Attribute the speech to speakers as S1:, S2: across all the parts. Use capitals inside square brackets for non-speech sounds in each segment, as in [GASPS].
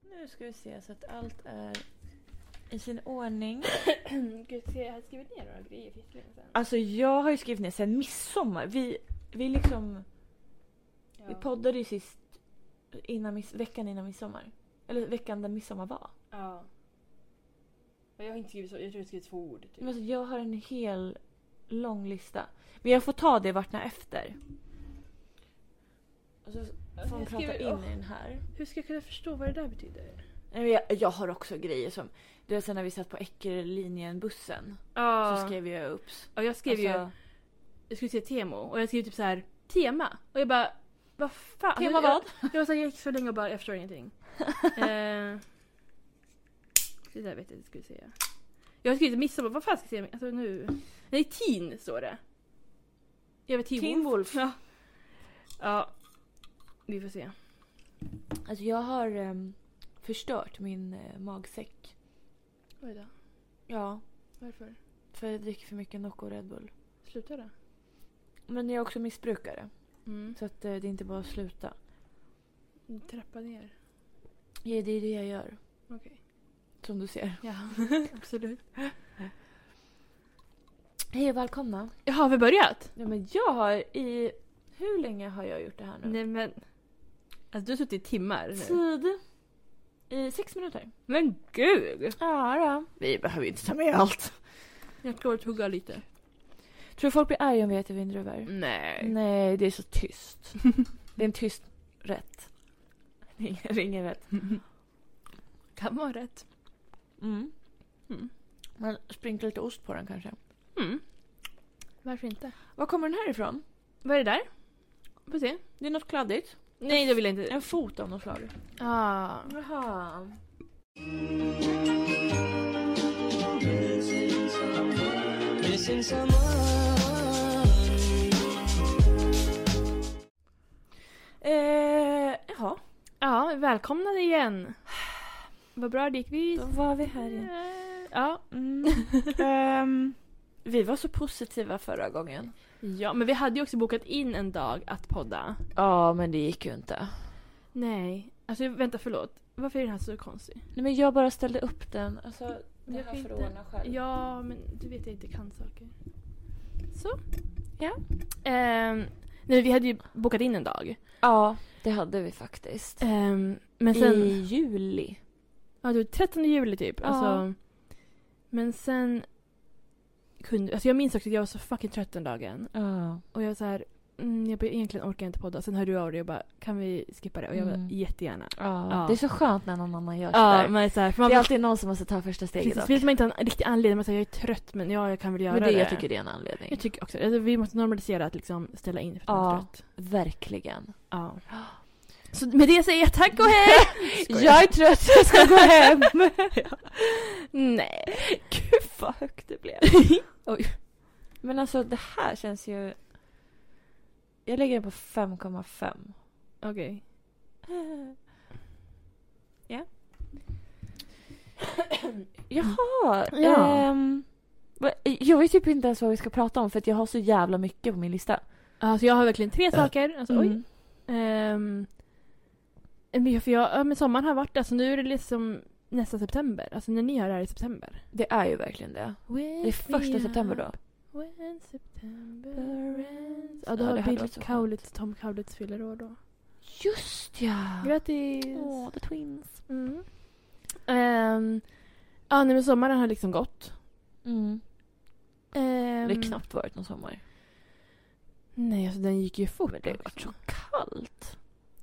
S1: Nu ska vi se så att allt är i sin ordning.
S2: [CLEARS THROAT] Gud, se, jag har skrivit ner några grejer för jättelänge sedan.
S1: Alltså jag har ju skrivit ner sen midsommar. Vi, vi liksom... Vi
S2: Ja.
S1: poddade ju sist innan miss, veckan innan midsommar. Eller veckan där midsommar var.
S2: Ja. Men jag har inte skrivit så, jag tror jag har skrivit två ord. Typ.
S1: Men alltså, jag har en hel lång lista. Men jag får ta det vartna efter. Och så
S2: alltså, Jag
S1: får man prata
S2: skriver- oh.
S1: in
S2: åh.
S1: i den här.
S2: Hur ska jag kunna förstå vad det där betyder?
S1: Nej, men Jag, jag har också grejer som... Du vet sen när vi satt på Eckerlinjen-bussen.
S2: Ja.
S1: Så skrev jag upps.
S2: Och jag skrev ju,
S1: Alltså,
S2: jag skulle säga Temo och jag skrev typ så här tema. Och jag bara, vad fan?
S1: tema
S2: alltså, jag,
S1: vad?
S2: Jag, jag, var så här, jag gick så länge och bara, jag
S1: [LAUGHS]
S2: förstår ingenting. eh, det där vet jag inte vad jag skulle säga. Jag har skrivit midsommar, vad fan ska jag säga? Alltså nu. Nej, teen står det. Jag vet teen,
S1: Teen Wolf.
S2: Ja. ja. Vi får se.
S1: Alltså jag har ehm, förstört min eh, magsäck.
S2: Oj då.
S1: Ja,
S2: Varför?
S1: för jag dricker för mycket Nocco och Red Bull.
S2: Sluta då.
S1: Men jag är också missbrukare.
S2: Mm.
S1: Så att eh, det är inte bara att sluta.
S2: Trappa ner.
S1: Ja, det är det jag gör.
S2: Okej.
S1: Som du ser.
S2: Ja, [LAUGHS] absolut.
S1: Hej och välkomna.
S2: Ja, har vi börjat?
S1: Ja, men jag har i... Hur länge har jag gjort det här nu?
S2: Nej men. Alltså du har suttit i timmar nu.
S1: Tid. I sex minuter.
S2: Men gud!
S1: Ja då. Vi behöver inte ta med allt.
S2: Jag klarar att tugga lite.
S1: Tror du folk blir arga om vi äter vindruvor?
S2: Nej.
S1: Nej, det är så [LAUGHS] tyst. det är en tyst rätt. Det är ingen- det är ingen rätt.
S2: Kan vara rätt.
S1: Mm.
S2: Mm.
S1: Man sprinklar lite ost på den kanske.
S2: Mm. Varför inte?
S1: Var kommer den här ifrån?
S2: Vad är det där? Får se.
S1: Det är något kladdigt.
S2: Nej, det vill jag inte.
S1: En fot av något slag.
S2: Ah.
S1: Jaha.
S3: Missing someone.
S1: Eh, jaha,
S2: Ja, välkomna igen. Vad bra det gick vi.
S1: då var vi här igen.
S2: Eh, [LAUGHS] Ja. Eh,
S1: Mm. [LAUGHS] Ehm, vi var så positiva förra gången.
S2: ja, men vi hade ju också bokat in en dag att podda.
S1: Ja, men det gick ju inte.
S2: Nej. Alltså vänta, förlåt. Varför är den här så konstig?
S1: Nej, men jag bara ställde upp den. Alltså, det här
S2: Jag kan
S1: får
S2: inte-
S1: ordna själv.
S2: Ja, men du vet jag inte kan saker. Så.
S1: Ja.
S2: Ehm, nej, vi hade ju bokat in en dag.
S1: ja, Eh, det hade vi faktiskt.
S2: Ehm, men sen...
S1: I juli.
S2: Ja, du, 13 juli typ.
S1: Ja.
S2: Alltså, men sen... Kunde, alltså jag minns också att jag var så fucking trött den dagen.
S1: Ja.
S2: Och jag var så här... Mm, jag bara, egentligen orkar jag inte podda. Sen hörde du av dig och bara, kan vi skippa det? Och jag bara,
S1: Mm.
S2: jättegärna.
S1: Det är så skönt när någon annan gör
S2: Ja,
S1: sådär.
S2: man är så här, för man
S1: Det är
S2: bara,
S1: alltid någon som måste ta första steget
S2: precis,
S1: dock.
S2: vet man inte har en riktig anledning. Man säger, jag är trött men ja, jag kan väl göra
S1: Men det,
S2: det.
S1: jag tycker det är en anledning.
S2: Jag tycker också alltså, Vi måste normalisera att liksom ställa in för att man är
S1: Ja.
S2: trött.
S1: Verkligen.
S2: Ja. [GASPS] Så med det säger jag tack
S1: [LAUGHS]
S2: och hej! Skojar.
S1: Jag är trött, jag ska gå hem. [LAUGHS]
S2: Nej.
S1: Gud vad högt det blev. Oj. Men alltså det här känns ju... Jag lägger den på [LAUGHS] 5,5.
S2: [LAUGHS] Okej.
S1: [CLEARS THROAT] Ja. Jaha.
S2: Ja.
S1: ehm, va- jag vet typ inte ens vad vi ska prata om för att jag har så jävla mycket på min lista.
S2: Alltså jag har verkligen tre saker. Alltså, oj.
S1: Mm.
S2: Ehm, men jag- för jag, ja, men sommaren har varit alltså nu är det liksom nästa september. Alltså när ni hör det här i september.
S1: Det är ju verkligen det. Det är första september då.
S2: When September ends.
S1: Ja,
S2: Ja, då
S1: det
S2: har
S1: hade
S2: Bill
S1: varit så
S2: Kaulitz, Tom Kaulitz fyller år då.
S1: Just ja!
S2: Grattis!
S1: Åh, the twins.
S2: Mm. Ehm, ja, nej, men sommaren har liksom gått.
S1: Mm.
S2: Ehm,
S1: Det har knappt varit någon sommar.
S2: Nej, alltså den gick ju fort.
S1: Men det har varit
S2: också.
S1: så kallt.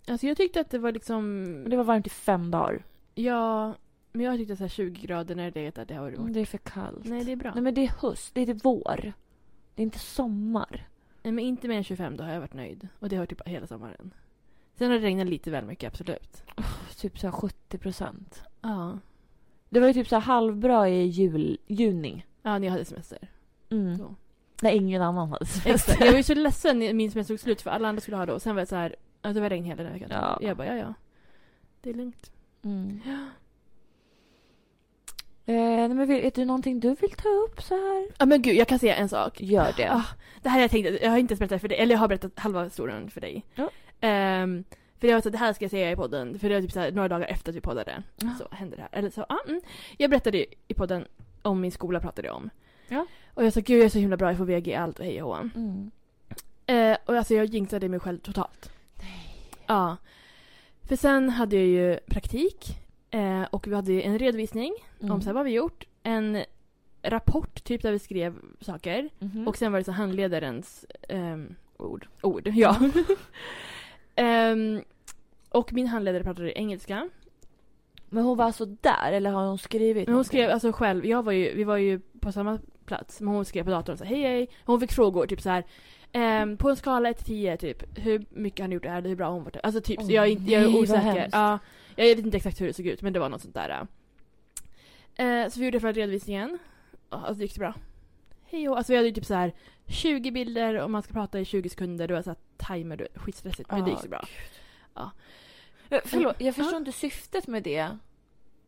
S2: Alltså jag tyckte att det var liksom...
S1: Men det var varmt i fem dagar.
S2: Ja, men jag tyckte så här 20 grader när det är att det har varit
S1: Mm,
S2: vårt.
S1: det är för kallt.
S2: Nej, det är bra.
S1: Nej, men det är höst, det är typ vår. Det är inte sommar.
S2: Nej, men inte mer än 25 då har jag varit nöjd. Och det har typ hela sommaren. Sen har det regnat lite väl mycket, absolut.
S1: Typ så här 70 procent.
S2: Ja.
S1: Det var ju typ så här halvbra i jul, juni.
S2: Ja, när jag hade semester.
S1: Mm.
S2: Så.
S1: När ingen annan hade [LAUGHS]
S2: Exakt.
S1: semester.
S2: Jag var ju så ledsen när min semester tog slut för alla andra skulle ha då. Sen var jag så här, ja, det var regn hela den här veckan.
S1: Ja.
S2: Jag bara, ja, ja. Det är lugnt.
S1: [GASPS] Mm. Eh, nej, men vill, är det någonting du vill ta upp så här?
S2: Ja, men gud, jag kan säga en sak.
S1: Gör det.
S2: Ah, det här har jag tänkt, jag har inte ens berättat för dig, eller jag har berättat halva historien för dig.
S1: Ja.
S2: Ehm, För jag var så här, det här ska jag säga i podden. För det var typ så här, några dagar efter att vi poddade. Så hände det här. Eller så, ah, mm. Jag berättade ju i podden om min skola pratade jag om.
S1: Ja.
S2: Och jag sa gud jag är så himla bra, jag får VG i allt och hej och hå."
S1: Mm.
S2: Eh, och alltså jag jinxade mig själv totalt. Ja. För sen hade jag ju praktik. Eh, och vi hade ju en redovisning
S1: Mm.
S2: om så här, vad vi gjort. En rapport typ där vi skrev saker.
S1: Mhm.
S2: Och sen var det så handledarens ehm, ord. Ord, ja. Ehm, och min handledare pratade engelska.
S1: Men hon var alltså där eller har hon skrivit
S2: Men hon
S1: någonting?
S2: skrev alltså själv, jag var ju, vi var ju på samma plats. Men hon skrev på datorn så här, hej hej. Hon fick frågor typ så här. ehm, på en skala 1 till 10 typ. Hur mycket har ni gjort det här? Hur bra har hon varit? Alltså typ. så
S1: Åh,
S2: jag, är inte- jag
S1: nej,
S2: är
S1: vad
S2: osäker.
S1: hemskt.
S2: Ja, jag vet inte exakt hur det såg ut men det var något sånt där. ja. Eh, så vi gjorde förra redovisningen. Och, Alltså det gick så bra. Hej och alltså vi hade ju typ så här 20 bilder och man ska prata i 20 sekunder. Det var så här timer, det var skitstressigt. Men det gick så bra. Mm.
S1: Men Ah, Förlåt, jag förstår
S2: Ja.
S1: inte syftet med det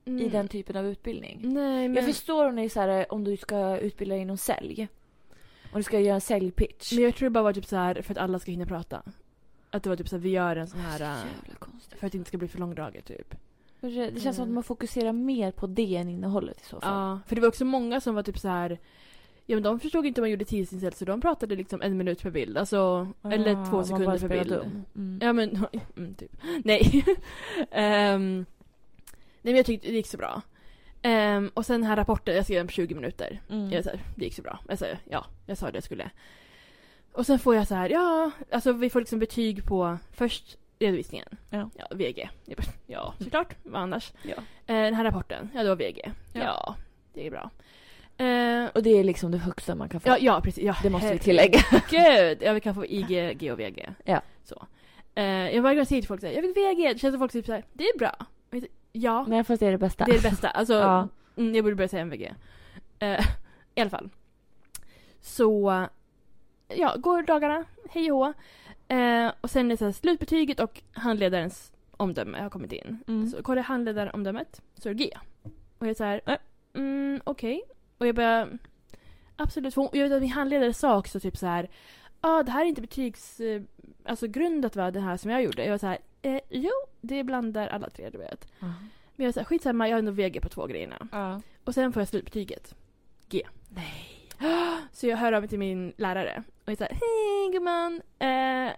S1: i
S2: Mm.
S1: den typen av utbildning.
S2: Nej men...
S1: Jag förstår om, det är så här, om du ska utbilda dig inom sälj. Om du ska göra en säljpitch.
S2: Men jag tror det bara var typ så här för att alla ska hinna prata. Att det var typ så här, vi gör en sån
S1: Så
S2: här... äh,
S1: jävla konstigt.
S2: För att det inte ska bli för långdraget typ.
S1: Det det känns som att
S2: Mm.
S1: man fokuserar mer på det än innehållet i så fall.
S2: Ja, för det var också många som var typ så här... Ja men de förstod inte hur man gjorde tidsinställd så de pratade liksom en minut per bild. Alltså,
S1: Ah,
S2: eller två sekunder per bild.
S1: Mm.
S2: Ja men, [LAUGHS] mm, typ. Nej. [LAUGHS] Ehm, nej men jag tyckte det gick så bra. Ehm, och sen den här rapporten, jag skrev den på 20 minuter.
S1: Mm.
S2: Jag, så här, det gick så bra. Jag sa, ja, jag sa det jag skulle. Och sen får jag så här, ja, alltså vi får liksom betyg på först redovisningen.
S1: Ja. Mm.
S2: VG. Jag bara, ja, såklart. Vad annars?
S1: Ja.
S2: Eh, den här rapporten, ja det var VG. Ja,
S1: Ja.
S2: det är bra. Eh,
S1: Och det är liksom det högsta man kan få.
S2: ja, ja, precis. Ja,
S1: Det måste vi tillägga.
S2: Gud! Ja, vi kan få IG, G och VG.
S1: Ja.
S2: Så. Eh, jag varje gång säger till folk såhär, jag fick VG. Det känns som folk typ såhär, det är bra. Och jag säger, Ja,
S1: [LAUGHS] Nej fast det är det bästa.
S2: det är det bästa. Alltså,
S1: Ja.
S2: mm, jag borde börja säga MVG. Eh, I alla fall. Så, ja, går dagarna, hej och hå. Eh, och sen är det så här, slutbetyget och handledarens omdöme har kommit in.
S1: Mm.
S2: Så kollar jag handledaromdömet, så är det G. Och jag är så här, äh, mm, okej. Och jag börjar, absolut. För hon- Jag vet att min handledare sa också typ så här, ja ah, det här är inte betygs, eh, alltså grundat va, det här som jag gjorde. Jag var så här, eh, jo, det blandar alla tre du vet.
S1: [LAUGHS] Ja.
S2: Men jag är så här, skitsamma, jag har ändå VG på två grejerna. Och sen får jag slutbetyget. G. [GASPS] Nej. Så jag hör av mig till min lärare och jag säger hej gumman. Eh,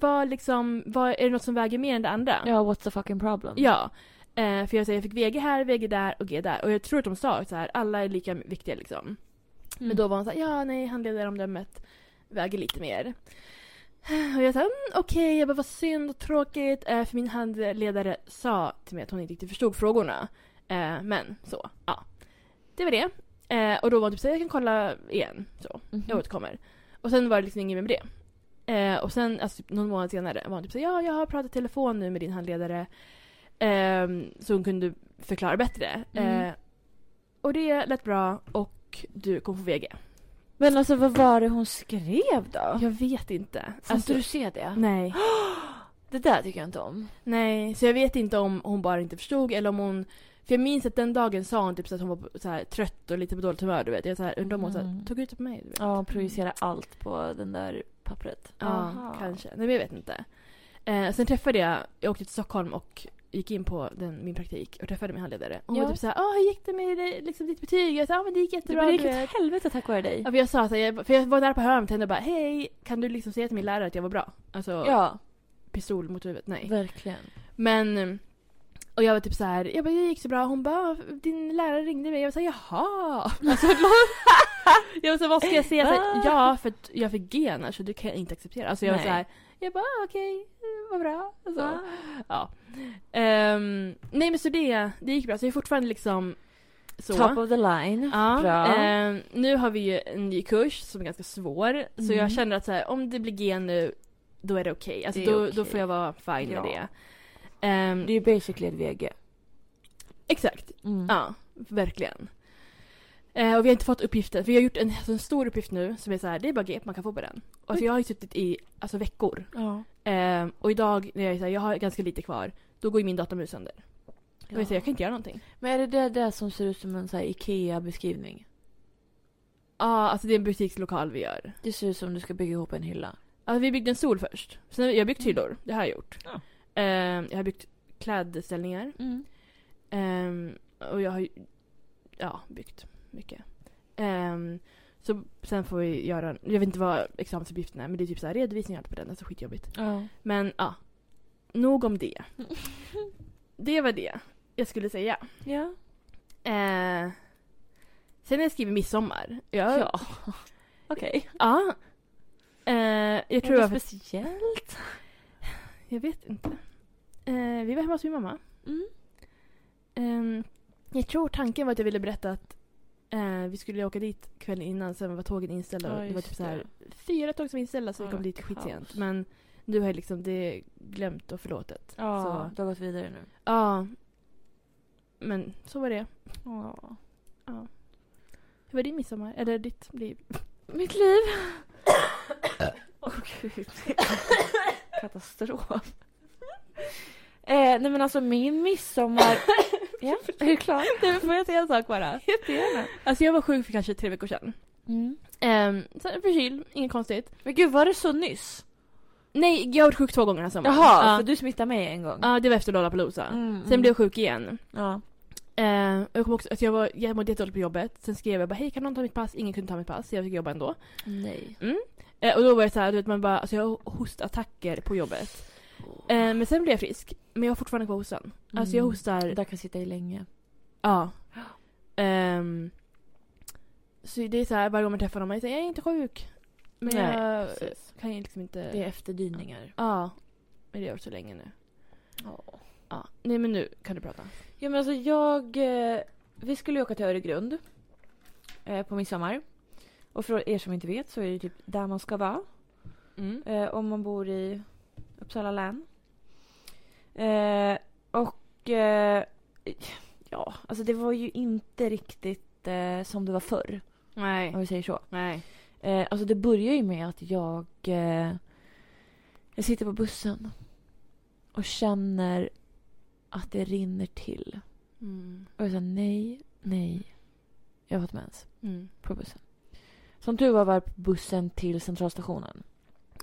S2: vad liksom, vad, är det något som väger mer än det andra?
S1: Ja, what's the fucking problem?
S2: Ja. Eh, för jag säger jag fick VG här, VG där och G där. Och jag tror att de sa så här, alla är lika viktiga liksom.
S1: Mm.
S2: Men då var hon så här, ja nej handledaromdömet väger lite mer. [SIGHS] Och jag sa mm, okej, jag bara vad synd och tråkigt. Eh, för min handledare sa till mig att hon inte riktigt förstod frågorna. Eh, men så, ja. Det var det. Eh, och då var hon typ såhär, jag kan kolla igen. Så,
S1: Mhm.
S2: jag återkommer. Och sen var det liksom inget mer med det. Eh, och sen, alltså typ någon månad senare var hon typ såhär, ja jag har pratat telefon nu med din handledare. Ehm, så hon kunde förklara bättre.
S1: Mm.
S2: Eh, och det lät bra och du kommer få VG.
S1: Men alltså vad var det hon skrev då?
S2: Jag vet inte. Alltså,
S1: Får inte du se det?
S2: nej.
S1: Det där tycker jag inte om.
S2: nej, så jag vet inte om hon bara inte förstod eller om hon... För jag minns att den dagen sa hon typ så att hon var så här, trött och lite på dåligt humör. Du vet. Jag så här, undrar om hon så här,
S1: Mm.
S2: tog ut det på mig. Du vet.
S1: Ja, projicera allt på den där pappret.
S2: Ja, kanske. Nej, men jag vet inte. Eh, sen träffade jag, jag åkte till Stockholm och gick in på den, min praktik och träffade min handledare. Hon var
S1: Ja.
S2: typ såhär, ah, hur gick det med dig, liksom, ditt betyg? Jag sa, ah, men det gick
S1: Det
S2: jättebra.
S1: blir
S2: du vet."
S1: ett helvete tack vare dig.
S2: Ja, för jag sa så här, jag- för jag var nära på att höra om till henne och bara hej, kan du liksom säga till min lärare att jag var bra? Alltså
S1: Ja,
S2: pistol mot huvudet, nej.
S1: verkligen.
S2: Men... Och jag var typ så här, jag bara, det gick så bra. Hon bara, din lärare ringde mig. Jag var så här, jaha. Alltså, [LAUGHS] jag var så här, vad ska jag säga? Så här,
S1: Va?
S2: ja, för att jag fick G annars så det kan jag inte acceptera. Alltså jag var
S1: Nej.
S2: så här, jag bara, ah, okej, eh, vad bra. Alltså,
S1: Va?
S2: ja. Ehm, nej men så det, det gick bra. Så jag är fortfarande liksom så.
S1: Top of the line.
S2: Ja,
S1: Bra.
S2: ehm, nu har vi ju en ny kurs som är ganska svår. Så
S1: Mm.
S2: jag känner att så här, om det blir G nu, då är det okej. Alltså,
S1: Det är
S2: då, då
S1: okej.
S2: får jag vara fine
S1: Ja.
S2: med det. Ehm,
S1: Det är ju basically ett VG.
S2: Exakt,
S1: Mm.
S2: ja. Verkligen. Eh, och vi har inte fått uppgiften, för jag har gjort en, alltså en stor uppgift nu som är så här, det är bara GP man kan få på den. Och alltså, jag har ju suttit i alltså, veckor.
S1: Ja.
S2: Eh, och idag när jag är så här, jag har ganska lite kvar, då går ju min datamus sönder. Och jag, säger, jag kan inte göra någonting. Ja,
S1: Men är det det där som ser ut som en så här IKEA-beskrivning?
S2: alltså det är en butikslokal vi gör.
S1: Det ser ut som du ska bygga ihop en hylla.
S2: Alltså, vi byggde en stol först. Sen har jag byggt hyllor, det har jag gjort.
S1: Mm. Ja.
S2: Ehm, jag har byggt klädställningar.
S1: Mm.
S2: Ehm, och jag har ju- ja, byggt mycket. Ehm, så sen får vi göra, jag vet inte vad examensuppgiften är men det är typ så här redovisning och allt på den, alltså skitjobbigt.
S1: Ja.
S2: Men ja, nog
S1: [LAUGHS]
S2: om det. Det var det jag skulle säga.
S1: Ja.
S2: Eh, sen har jag skrivit midsommar. Jag,
S1: Ja. [LAUGHS] Okej.
S2: ja. Eh, jag tror
S1: Tror
S2: jag,
S1: jag speciellt?
S2: jag vet inte. Eh, vi var hemma hos min mamma.
S1: Mm.
S2: Ehm, jag tror tanken var att jag ville berätta att eh, vi skulle åka dit kvällen innan, sen var tågen inställda.
S1: Ja,
S2: och det var
S1: just
S2: typ så här,
S1: det.
S2: fyra tåg som var inställda så vi
S1: Ja,
S2: kom dit
S1: kaos.
S2: skitsent. Men du har ju liksom det glömt och förlåtet.
S1: Ja,
S2: Så,
S1: du har gått vidare nu.
S2: ja. Men så var det.
S1: Ja.
S2: Hur var din midsommar? Eller ditt liv?
S1: Mitt [COUGHS] liv. Åh gud. Katastrof. Eh, nej men alltså min [COUGHS] midsommar... ja, är du klar?
S2: Nej, får jag säga en sak bara?
S1: Jättegärna.
S2: Alltså jag var sjuk för kanske tre veckor sedan.
S1: Mm.
S2: Um, sen förkyld, inget konstigt.
S1: Men gud var det så nyss?
S2: Nej, jag har varit sjuk två gånger den här sommaren.
S1: Jaha,
S2: Ja,
S1: för du smittade mig en gång.
S2: Ja, det var efter Lollapalooza.
S1: Mm,
S2: Sen
S1: mm.
S2: blev jag sjuk igen.
S1: Ja.
S2: Eh, och jag kom också, alltså jag, var, jag mådde jättedåligt på jobbet. Sen skrev jag bara hej kan någon ta mitt pass? Ingen kunde ta mitt pass, så jag fick jobba ändå.
S1: Nej.
S2: Eh, och då var det så här, du vet man bara, alltså jag har hostattacker på jobbet. Eh, men sen blev jag frisk. Men jag har fortfarande kvar hostan. Alltså jag
S1: Mm.
S2: hostar,
S1: Där kan jag sitta i länge.
S2: ja. Ehm, så det är så här varje gång man träffar någon, man säger jag är inte sjuk. Men
S1: Nej,
S2: jag
S1: precis.
S2: kan ju liksom inte...
S1: Det är efterdyningar.
S2: Ja. Men det har varit så länge nu. Ja. Nej men nu kan du prata.
S1: Ja men alltså jag... eh, Vi skulle ju åka till Öregrund. eh, På midsommar. Och för er som inte vet så är det typ där man ska vara. Eh, om man bor i Uppsala län. Eh, och eh, ja, alltså det var ju inte riktigt eh, som det var förr.
S2: Nej.
S1: Om vi säger så.
S2: Nej.
S1: Eh, alltså det börjar ju med att jag, eh, jag sitter på bussen och känner att det rinner till.
S2: Mm.
S1: Och jag sa nej, nej. Jag har fått mens
S2: Mm.
S1: på bussen. Som tur var var bussen till centralstationen.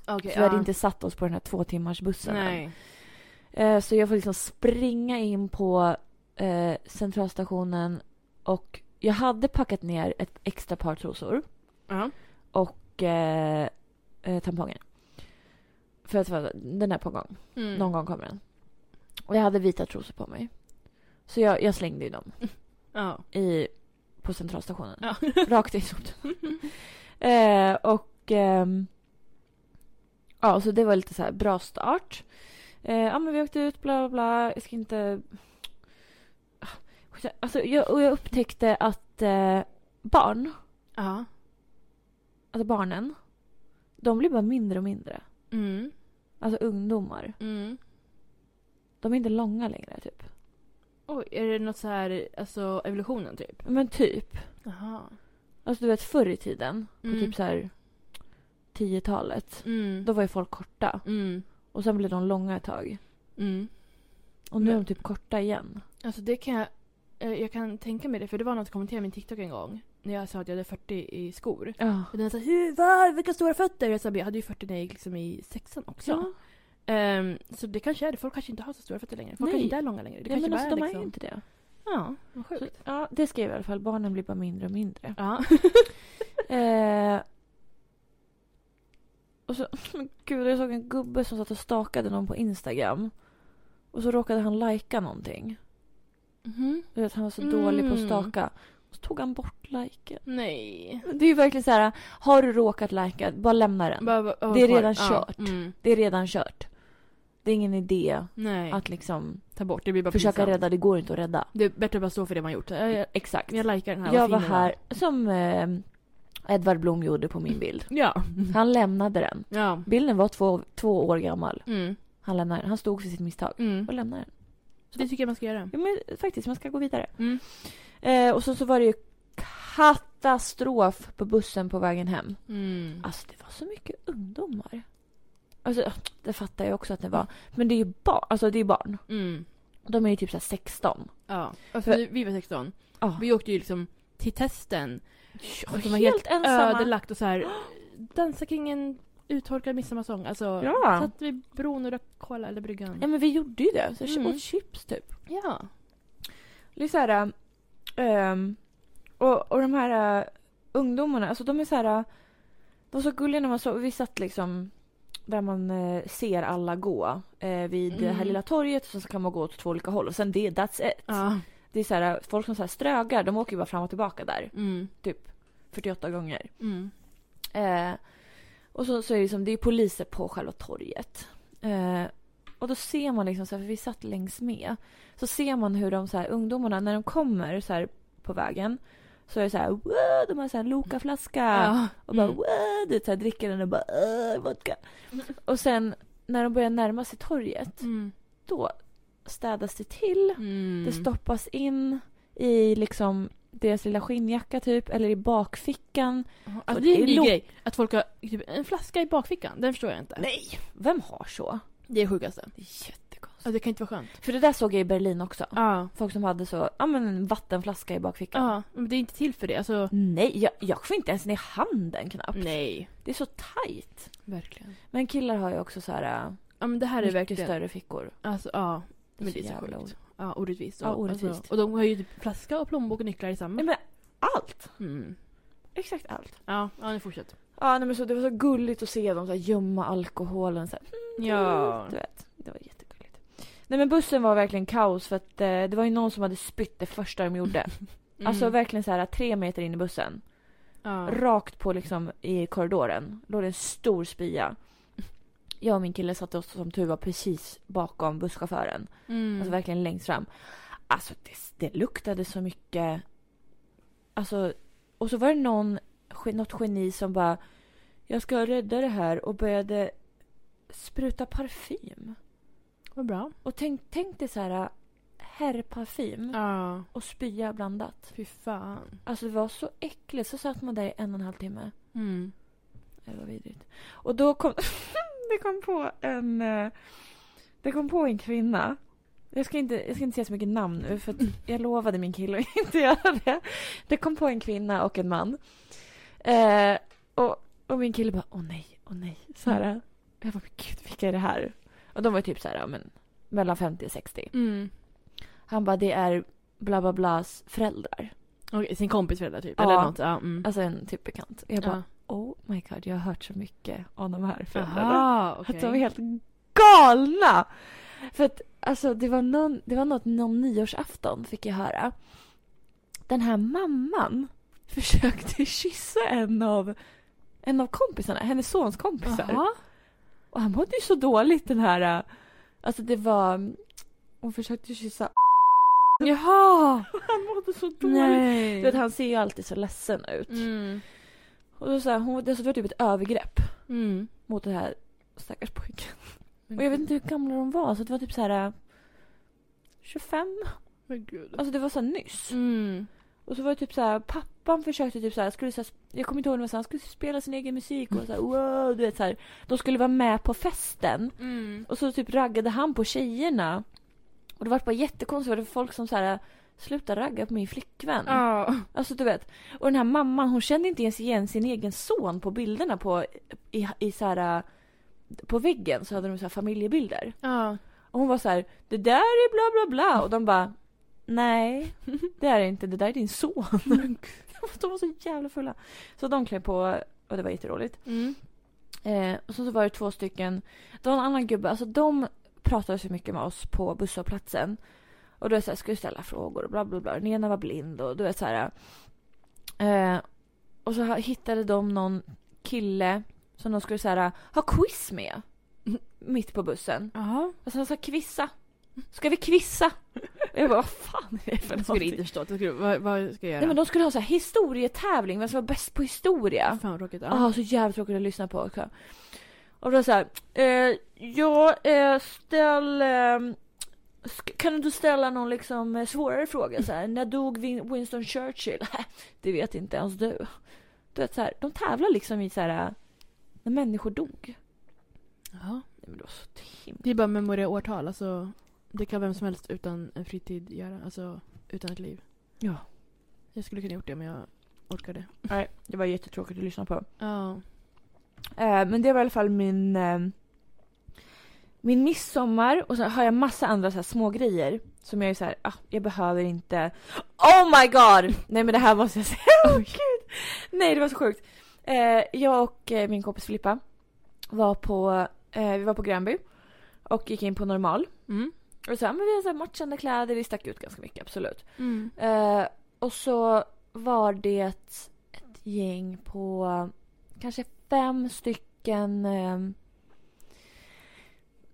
S2: Okej.
S1: Så vi hade inte satt oss på den här två timmars bussen än.
S2: Nej.
S1: Eh, Så jag får liksom springa in på eh, centralstationen och jag hade packat ner ett extra par trosor
S2: Ja.
S1: och eh, eh, tamponger. För att va, den är på gång.
S2: Mm.
S1: Någon gång kommer den. Och jag hade vita trosor på mig. Så jag, jag slängde ju dem
S2: Ja.
S1: i, på centralstationen.
S2: Ja.
S1: [LAUGHS] Rakt i soptunnan. [LAUGHS] eh, och... ehm, ja, så det var lite så här bra start. Eh, ja, men vi åkte ut, bla bla bla. Jag ska inte... Ah, skit- Alltså, jag, och jag upptäckte att eh, barn,
S2: ja.
S1: alltså barnen, de blir bara mindre och mindre.
S2: Mm.
S1: Alltså ungdomar.
S2: Mm.
S1: De är inte långa längre, typ.
S2: Oj, är det något så här, alltså evolutionen typ?
S1: Men typ.
S2: Jaha.
S1: Alltså, du vet, förr i tiden, på
S2: Mm.
S1: typ så här 10-talet,
S2: Mm.
S1: då var ju folk korta.
S2: Mm.
S1: Och sen blev de långa ett tag.
S2: Mm.
S1: Och nu är
S2: Men-
S1: de typ korta igen.
S2: Alltså det kan jag, eh, jag kan tänka mig det för det var någon som kommenterade min TikTok en gång. När jag sa att jag hade 40 i skor.
S1: Ja.
S2: Och den sa hur, var, vilka stora fötter? Jag sa jag hade ju 40 när jag gick liksom i sexan också.
S1: Ja.
S2: Ehm, så det kanske är det. Folk kanske inte har så stora fötter längre. Folk
S1: Nej.
S2: kanske inte är långa längre. Det
S1: Nej,
S2: kanske
S1: men
S2: bara
S1: alltså, de
S2: är
S1: är
S2: liksom...
S1: ju inte det.
S2: Ja, vad
S1: Så,
S2: sjukt.
S1: ja, det skrev jag i alla fall. Barnen blir bara mindre och mindre.
S2: Ja.
S1: Eh, och så, [LAUGHS] men gud, jag såg en gubbe som satt och stakade någon på Instagram. Och så råkade han lajka någonting.
S2: Mhm.
S1: Du vet, han var så dålig på att
S2: Mm.
S1: staka. Och så tog han bort liken.
S2: Nej.
S1: Det är ju verkligen så här, har du råkat lajka, bara lämna den.
S2: Bara- bara- bara
S1: Det är
S2: kvar.
S1: redan
S2: Ja,
S1: kört.
S2: Mm.
S1: Det är redan kört. Det är ingen idé
S2: Nej,
S1: att liksom
S2: ta bort. Det blir bara
S1: försöka
S2: pinsamt.
S1: rädda, det går inte att rädda.
S2: Det är bättre att bara stå för det man gjort. Jag, jag,
S1: Exakt.
S2: jag likar den här.
S1: Jag
S2: vad
S1: var
S2: fin den
S1: här, som eh, Edvard Blom gjorde på min bild.
S2: Ja.
S1: Han lämnade den.
S2: Ja.
S1: Bilden var två, två år gammal.
S2: Mm.
S1: Han lämnade den. Han stod för sitt misstag
S2: Mm.
S1: och liksom- lämnade den.
S2: Så det tycker jag man ska göra.
S1: Ja, men faktiskt, man ska gå vidare.
S2: Mm.
S1: Eh, och så, så var det ju katastrof på bussen på vägen hem.
S2: Mm.
S1: Alltså det var så mycket ungdomar. Alltså det fattar jag också att det var. Men det är ju barn. Alltså det är ju barn.
S2: Mm.
S1: De är ju typ så här 16.
S2: Ja. Alltså,
S1: För-
S2: vi, vi var 16.
S1: Ja.
S2: Vi åkte ju liksom till testen.
S1: Och
S2: de
S1: de
S2: var
S1: var helt,
S2: helt
S1: ensamma.
S2: Ödelagt och så här [GASPS] dansa kring en Uttorkad midsommarsång. Alltså,
S1: Ja.
S2: satt vid bron och drack cola eller bryggan.
S1: Ja men vi gjorde ju det. Så
S2: Mm.
S1: åt chips typ.
S2: Ja.
S1: Det är så här, ehm, och, och de här eh, ungdomarna, alltså de är så här, eh, de var så gulliga när man såg, vi satt liksom där man eh, ser alla gå eh, vid det här
S2: Mm.
S1: lilla torget och sen så kan man gå åt två olika håll och sen det, that's it.
S2: ja.
S1: Det är så här, eh, folk som så här strögar, de åker ju bara fram och tillbaka där
S2: Mm.
S1: 48 gånger.
S2: Mm.
S1: Eh, och så, så är det, liksom, det är poliser på själva torget. Eh, och då ser man, liksom, så här, för vi satt längs med, så ser man hur de så här, ungdomarna, när de kommer så här, på vägen så är det så här, wow, de har så här Loka-flaska
S2: Ja.
S1: och bara
S2: Mm.
S1: wow, du vet, så här, dricker den och bara "Åh, vodka. Och sen när de börjar närma sig torget,
S2: Mm.
S1: då städas det till.
S2: Mm.
S1: Det stoppas in i liksom deras lilla skinnjacka typ, eller i bakfickan.
S2: Ja,
S1: Så
S2: Alltså, det är
S1: det
S2: en
S1: är
S2: ny
S1: lo-
S2: grej. Att folk har typ, en flaska i bakfickan. Den förstår jag inte.
S1: Nej! Vem har så?
S2: Det är sjukaste.
S1: Det är jättekonstigt.
S2: Alltså, det kan inte vara skönt.
S1: För det där såg jag i Berlin också.
S2: Ja.
S1: Folk som hade så, ja men en vattenflaska i bakfickan.
S2: Ja, men det är inte till för det. Alltså,
S1: Nej, jag, jag får inte ens ner handen knappt.
S2: nej.
S1: Det är så tajt.
S2: Verkligen.
S1: Men killar har ju också så här, äh,
S2: Ja, men det här är
S1: mycket
S2: verkligen...
S1: större fickor.
S2: Alltså, ja. Men det är så
S1: jävla
S2: sjukt.
S1: o-
S2: Ja, orättvist.
S1: Ja, orättvist.
S2: Alltså, Mm. och de har ju typ flaska och plånbok och nycklar i samma.
S1: Nej men allt!
S2: Mm.
S1: Exakt allt.
S2: Ja, ja, nu fortsätt.
S1: Ja nej, men så det var så gulligt att se dem så här, gömma alkoholen så här. Mm,
S2: Ja.
S1: Du vet, det var jättegulligt. Nej men bussen var verkligen kaos för att eh, det var ju någon som hade spytt det första de gjorde.
S2: [LAUGHS] Mm.
S1: Alltså verkligen så här tre meter in i bussen.
S2: ja.
S1: Rakt på liksom i korridoren låg det en stor spya. Jag och min kille satte oss som tur var precis bakom busschauffören.
S2: Mm.
S1: Alltså verkligen längst fram. Alltså det, det luktade så mycket. Alltså, och så var det någon, ge- något geni som bara jag ska rädda det här och började spruta parfym.
S2: Vad bra.
S1: Och tänk, tänk dig så här äh, herrparfym
S2: Ja.
S1: och spya blandat.
S2: Fy fan.
S1: Alltså det var så äckligt. Så satt man där i en och en halv timme.
S2: Mm.
S1: Det var vidrigt. Och då kom [LAUGHS] det kom på en eh, det kom på en kvinna. Jag ska, inte, jag ska inte säga så mycket namn nu
S2: [CLEARS THROAT]
S1: för att jag lovade min kille att [LAUGHS] inte göra det. Det kom på en kvinna och en man. Eh, och, och min kille bara åh nej, åh nej. Så här,
S2: Mm.
S1: Jag bara men gud vilka är det här? Och de var typ så här, ja, men, mellan 50 och 60.
S2: Mm.
S1: Han bara det är bla bla blas föräldrar.
S2: Mm. Okej, sin kompis föräldrar typ.
S1: Ja.
S2: Eller något. Ja. Mm.
S1: Alltså en typ bekant. Jag bara
S2: ja.
S1: oh my god jag har hört så mycket om de här föräldrarna.
S2: Aha,
S1: Att
S2: okej.
S1: de var helt galna! För att alltså, det, var någon, det var något någon nyårsafton fick jag höra. Den här mamman [LAUGHS] försökte kyssa en av, en av kompisarna, hennes sons kompisar.
S2: Aha.
S1: Och han mådde ju så dåligt den här... äh, Alltså det var... Hon försökte kyssa [LAUGHS]
S2: Jaha!
S1: Han mådde så dåligt.
S2: Nej.
S1: Du vet, han ser ju alltid så ledsen ut.
S2: Mm.
S1: Och då så här, hon, det var typ ett övergrepp
S2: Mm.
S1: mot den här stackars pojken. Och jag vet inte hur gamla de var, så det var typ så här... äh, 25?
S2: Men gud.
S1: Alltså det var så här nyss.
S2: Mm.
S1: Och så var det typ så här, pappan försökte typ så här, skulle så här jag kommer inte ihåg, det var så här, han skulle spela sin egen musik och så här, wow, du vet så här. De skulle vara med på festen.
S2: Mm.
S1: Och så typ raggade han på tjejerna. Och det var bara jättekonstigt, för det var folk som så här, sluta ragga på min flickvän.
S2: Ja.
S1: Alltså du vet. Och den här mamman, hon kände inte ens igen sin egen son på bilderna på, i, i så här, äh, på väggen så hade de så här familjebilder.
S2: Ja.
S1: Och hon var så här, det där är bla bla bla. Och de bara, nej det är det inte, det där är din son. de var så jävla fulla. Så de klev på och det var jätteroligt.
S2: Mm.
S1: Eh, och så, så var det två stycken, det var en annan gubbe, alltså de pratade så mycket med oss på busshållplatsen. Och då är det så här, skulle ställa frågor och bla bla bla. Den ena var blind och du vet så här. Eh, och så ha- hittade de någon kille som de skulle så här, ha quiz med. Mitt på bussen.
S2: Jaha.
S1: Och sen sa Alltså, kvissa. Ska vi kvissa? Och jag bara, vad fan är det för
S2: Det skulle jag
S1: någonting?
S2: inte förstå. Det skulle, vad, vad ska jag göra?
S1: Nej men de skulle ha så här historietävling, vem som var bäst på historia.
S2: Fan vad tråkigt. Ja.
S1: Ja, så jävligt tråkigt att lyssna på också. Och då så här, eh, jag eh, ställ... Eh, sk- kan du inte ställa någon liksom eh, svårare fråga så här, när dog Win- Winston Churchill? [LAUGHS] Äh, det vet inte ens du. Du vet så här, de tävlar liksom i så här, när människor dog.
S2: Jaha.
S1: Nej men det var så himla...
S2: Det är bara memorera årtal. Alltså, det kan vem som helst utan en fritid göra. Alltså utan ett liv.
S1: Ja.
S2: Jag skulle kunna gjort det men jag orkade.
S1: Nej, det var jättetråkigt att lyssna på.
S2: Ja.
S1: Eh, men det var i alla fall min, eh, min midsommar och så har jag massa andra så här små grejer som jag är så här, ah, jag behöver inte. Oh my god! Nej men det här måste jag säga. [LAUGHS] Oh, gud. Nej det var så sjukt. Eh, jag och eh, min kompis Filippa var på, eh, vi var på Grönby och gick in på normal.
S2: Mm.
S1: Och så här, men vi har så här matchande kläder, vi stack ut ganska mycket absolut.
S2: Mm.
S1: Eh, och så var det ett gäng på kanske fem stycken eh,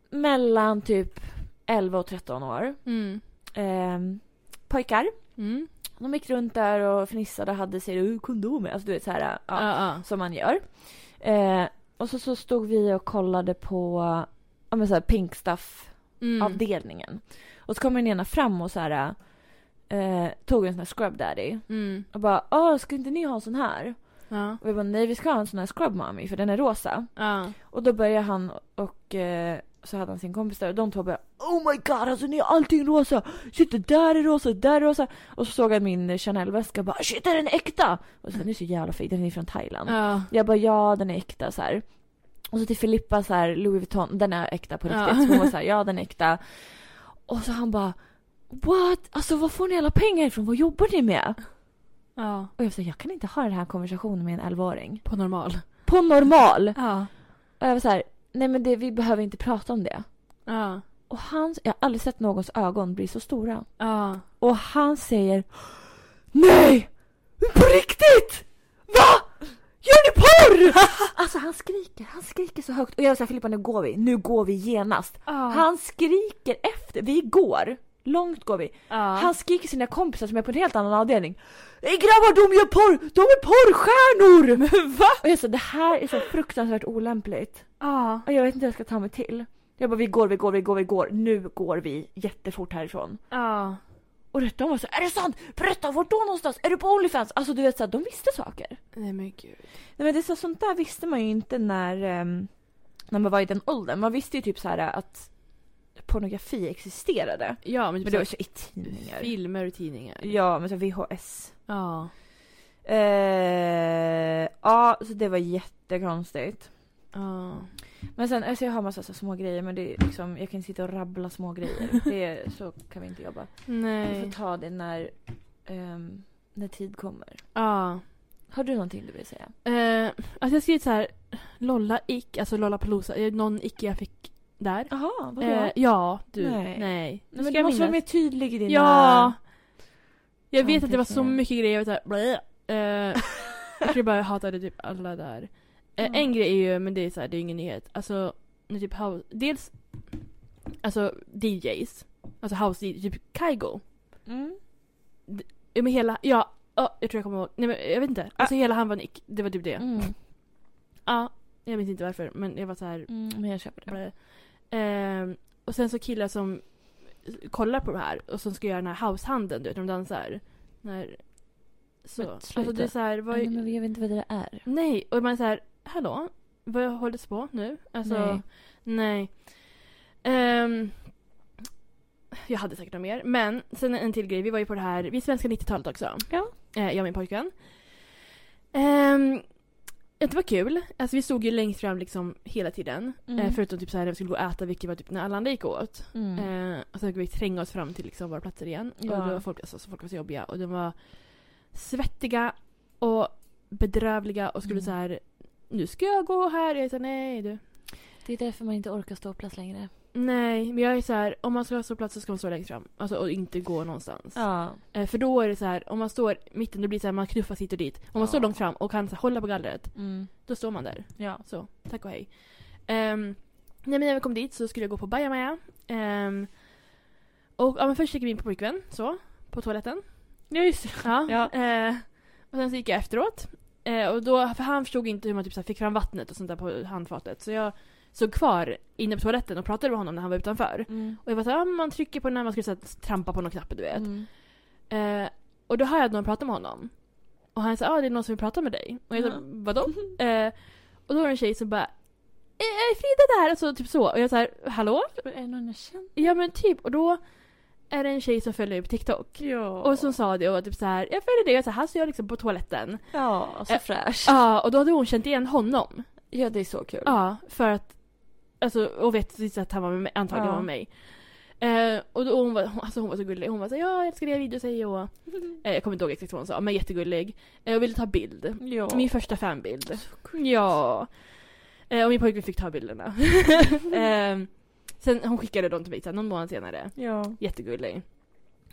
S1: mellan typ 11 och 13 år.
S2: Mm.
S1: Eh, pojkar.
S2: Mm.
S1: De gick runt där och fnissade och hade sig ur kondomer. Alltså du vet så här, ja,
S2: Ja.
S1: som man gör. Eh, och så, så stod vi och kollade på ja, men så här, pink stuff
S2: Mm.
S1: avdelningen. Och så kom den ena fram och så här eh, tog en sån här scrub daddy
S2: Mm.
S1: och bara åh ska inte ni ha en sån här?
S2: Ja.
S1: Och jag bara nej vi ska ha en sån här scrub mommy för den är rosa.
S2: Ja.
S1: Och då började han och eh, så hade han sin kompis där och de två började oh my god alltså ni har allting rosa! Shit det där är rosa, det där är rosa! Och så såg han min Chanel-väska och bara shit är den äkta? Och så den är så jävla fin, den är från Thailand.
S2: Ja.
S1: Jag bara ja den är äkta så här. Och så till Filippa så här, Louis Vuitton, den är äkta på
S2: Ja.
S1: riktigt. Så hon var så här, ja den är äkta. Och så han bara What? Alltså var får ni alla pengar ifrån? Vad jobbar ni med?
S2: Ja.
S1: Och jag sa jag kan inte ha den här konversationen med en 11-åring.
S2: På normal.
S1: På normal!
S2: Ja.
S1: Och jag var så här, nej men det, vi behöver inte prata om det.
S2: Ja.
S1: Och hans, jag har aldrig sett någons ögon bli så stora.
S2: Ja.
S1: Och han säger Nej! På riktigt! Va? Gör ni porr? [LAUGHS] alltså han skriker, han skriker så högt. Och jag säger Filippa nu går vi, nu går vi genast. Han skriker efter, vi går. Långt går vi. Han skriker sina kompisar som är på en helt annan avdelning. "Ey, Grabbar de gör porr, de är porrstjärnor! [LAUGHS] Men va? Och jag sa det här är så fruktansvärt olämpligt.
S2: Ja.
S1: Och jag vet inte hur jag ska ta mig till. Jag bara vi går, vi går, vi går, vi går. Nu går vi jättefort härifrån.
S2: Ja.
S1: Och de var så är det sant? Berätta, vart då någonstans? Är du på Onlyfans? Alltså du vet såhär, de visste saker.
S2: Nej men gud.
S1: Nej men det är så, sånt där visste man ju inte när, ehm, när man var i den åldern. Man visste ju typ så här att pornografi existerade.
S2: Ja men, typ
S1: Men det var ju så i tidningar.
S2: filmer och tidningar.
S1: Ja, men så VHS.
S2: Ja.
S1: Eh, ja, så det var jättekonstigt.
S2: Ja.
S1: Men sen, alltså jag har massa så små grejer men det är liksom, jag kan sitta och rabbla små grejer. Det är, så kan vi inte jobba. Vi får
S2: Nej.
S1: ta det när, ehm, när tid kommer.
S2: Ja.
S1: Har du någonting du vill säga?
S2: Eh, alltså jag har skrivit så här. Lolla ick, alltså Lollapalooza. Eh, Någon ick jag fick där.
S1: Jaha, vadå?
S2: Eh, ja, du.
S1: Nej.
S2: Nej. Nej.
S1: Nej, men du måste vara mer tydlig i dina...
S2: Ja! Jag vet att det var så
S1: Anteckningar.
S2: mycket grejer, jag var såhär eh, Jag tror bara jag hatade typ alla där. Eh,
S1: Ja.
S2: En grej är ju, men det är såhär, det är ju ingen nyhet. Alltså, när typ house, dels Alltså DJs. Alltså house DJ, typ Kygo.
S1: Mm.
S2: Ja men hela, ja, ja, jag tror jag kommer ihåg. Nej men jag vet inte. Alltså hela han var nick, det var typ det.
S1: Mm.
S2: Ja, jag minns inte varför men jag var så här.
S1: Mm, men jag köper det.
S2: Blä. Ehm, och sen så killar som kollar på det här och som ska göra den här househandeln, du vet, de dansar. När... Så.
S1: Men
S2: Alltså
S1: sluta.
S2: det är så här, vad...
S1: Nej, men jag vet inte vad det där är.
S2: Nej, och man är så här, hallå? Vad hålls på nu? Alltså,
S1: Nej.
S2: nej. Ehm, jag hade säkert något mer, men sen en till grej. Vi var ju på det här, vi är svenska 90-talet också.
S1: Ja.
S2: Eh, jag och min pojkvän. Ehm, det var kul. Alltså vi stod ju längst fram liksom hela tiden.
S1: Mm.
S2: Eh, förutom typ så här när vi skulle gå och äta, vilket var typ när alla andra gick åt.
S1: Mm.
S2: Eh, och sen fick vi tränga oss fram till liksom våra platser igen.
S1: Ja.
S2: Och då var folk, alltså, så folk var så jobbiga och de var svettiga och bedrövliga och skulle
S1: Mm.
S2: så här nu ska jag gå här. Jag sa nej du.
S1: Det är därför man inte orkar ståplats längre.
S2: Nej, men jag är så här om man ska ha ståplats så ska man stå längst fram. Alltså och inte gå någonstans.
S1: Ja.
S2: Eh, för då är det så här om man står i mitten då blir det så här man knuffas hit och dit. Om man står
S1: Ja.
S2: långt fram och kan så här, hålla på gallret
S1: Mm.
S2: då står man där.
S1: Ja.
S2: Så, tack och hej. Ehm, nej, men när vi kom dit så skulle jag gå på bajamaja. Ehm, och ja, men först gick vi in på pojkvän, så, på toaletten.
S1: Ja, just det.
S2: Ja.
S1: Ja.
S2: Eh, och sen så gick jag efteråt. Eh, och då, för han förstod inte hur man typ, så här, fick fram vattnet och sånt där på handfatet. Så jag såg kvar inne på toaletten och pratade med honom när han var utanför.
S1: Mm.
S2: Och jag var såhär, ja, men man trycker på den här, man skulle så här, trampa på någon knapp du vet.
S1: Mm.
S2: Eh, och då hörde jag någon prata med honom. Och han sa ah, det är någon som vill prata med dig. Och jag sa
S1: Mm.
S2: vadå? Eh, och då var det en tjej som bara "Eh, Är Frida där? Alltså typ så. Och jag såhär hallå?
S1: [LAUGHS] Är det någon jag känner?
S2: Ja men typ. Och då är det en tjej som följer mig på TikTok.
S1: Ja.
S2: Och som sa det och var typ så här, jag följer dig och så här står jag liksom på toaletten.
S1: Ja, så
S2: Eh,
S1: fräsch.
S2: Ja, och då hade hon känt igen honom.
S1: Ja, det är så kul.
S2: Ja, för att... Alltså, och vet precis att han var med mig, antagligen
S1: Ja.
S2: var med mig. Eh, och då, hon, var, hon- alltså, hon var så gullig. Hon var så ja jag älskar dina videos
S1: [LAUGHS]
S2: hej och... Eh, jag kommer inte ihåg exakt vad hon sa, men jättegullig. Eh, och ville ta bild.
S1: ja.
S2: Min första fanbild. Ja. Eh, och min pojkvän fick ta
S1: [LAUGHS]
S2: bilderna. eh, sen hon skickade dem till mig sen, någon månad senare.
S1: ja.
S2: Jättegullig.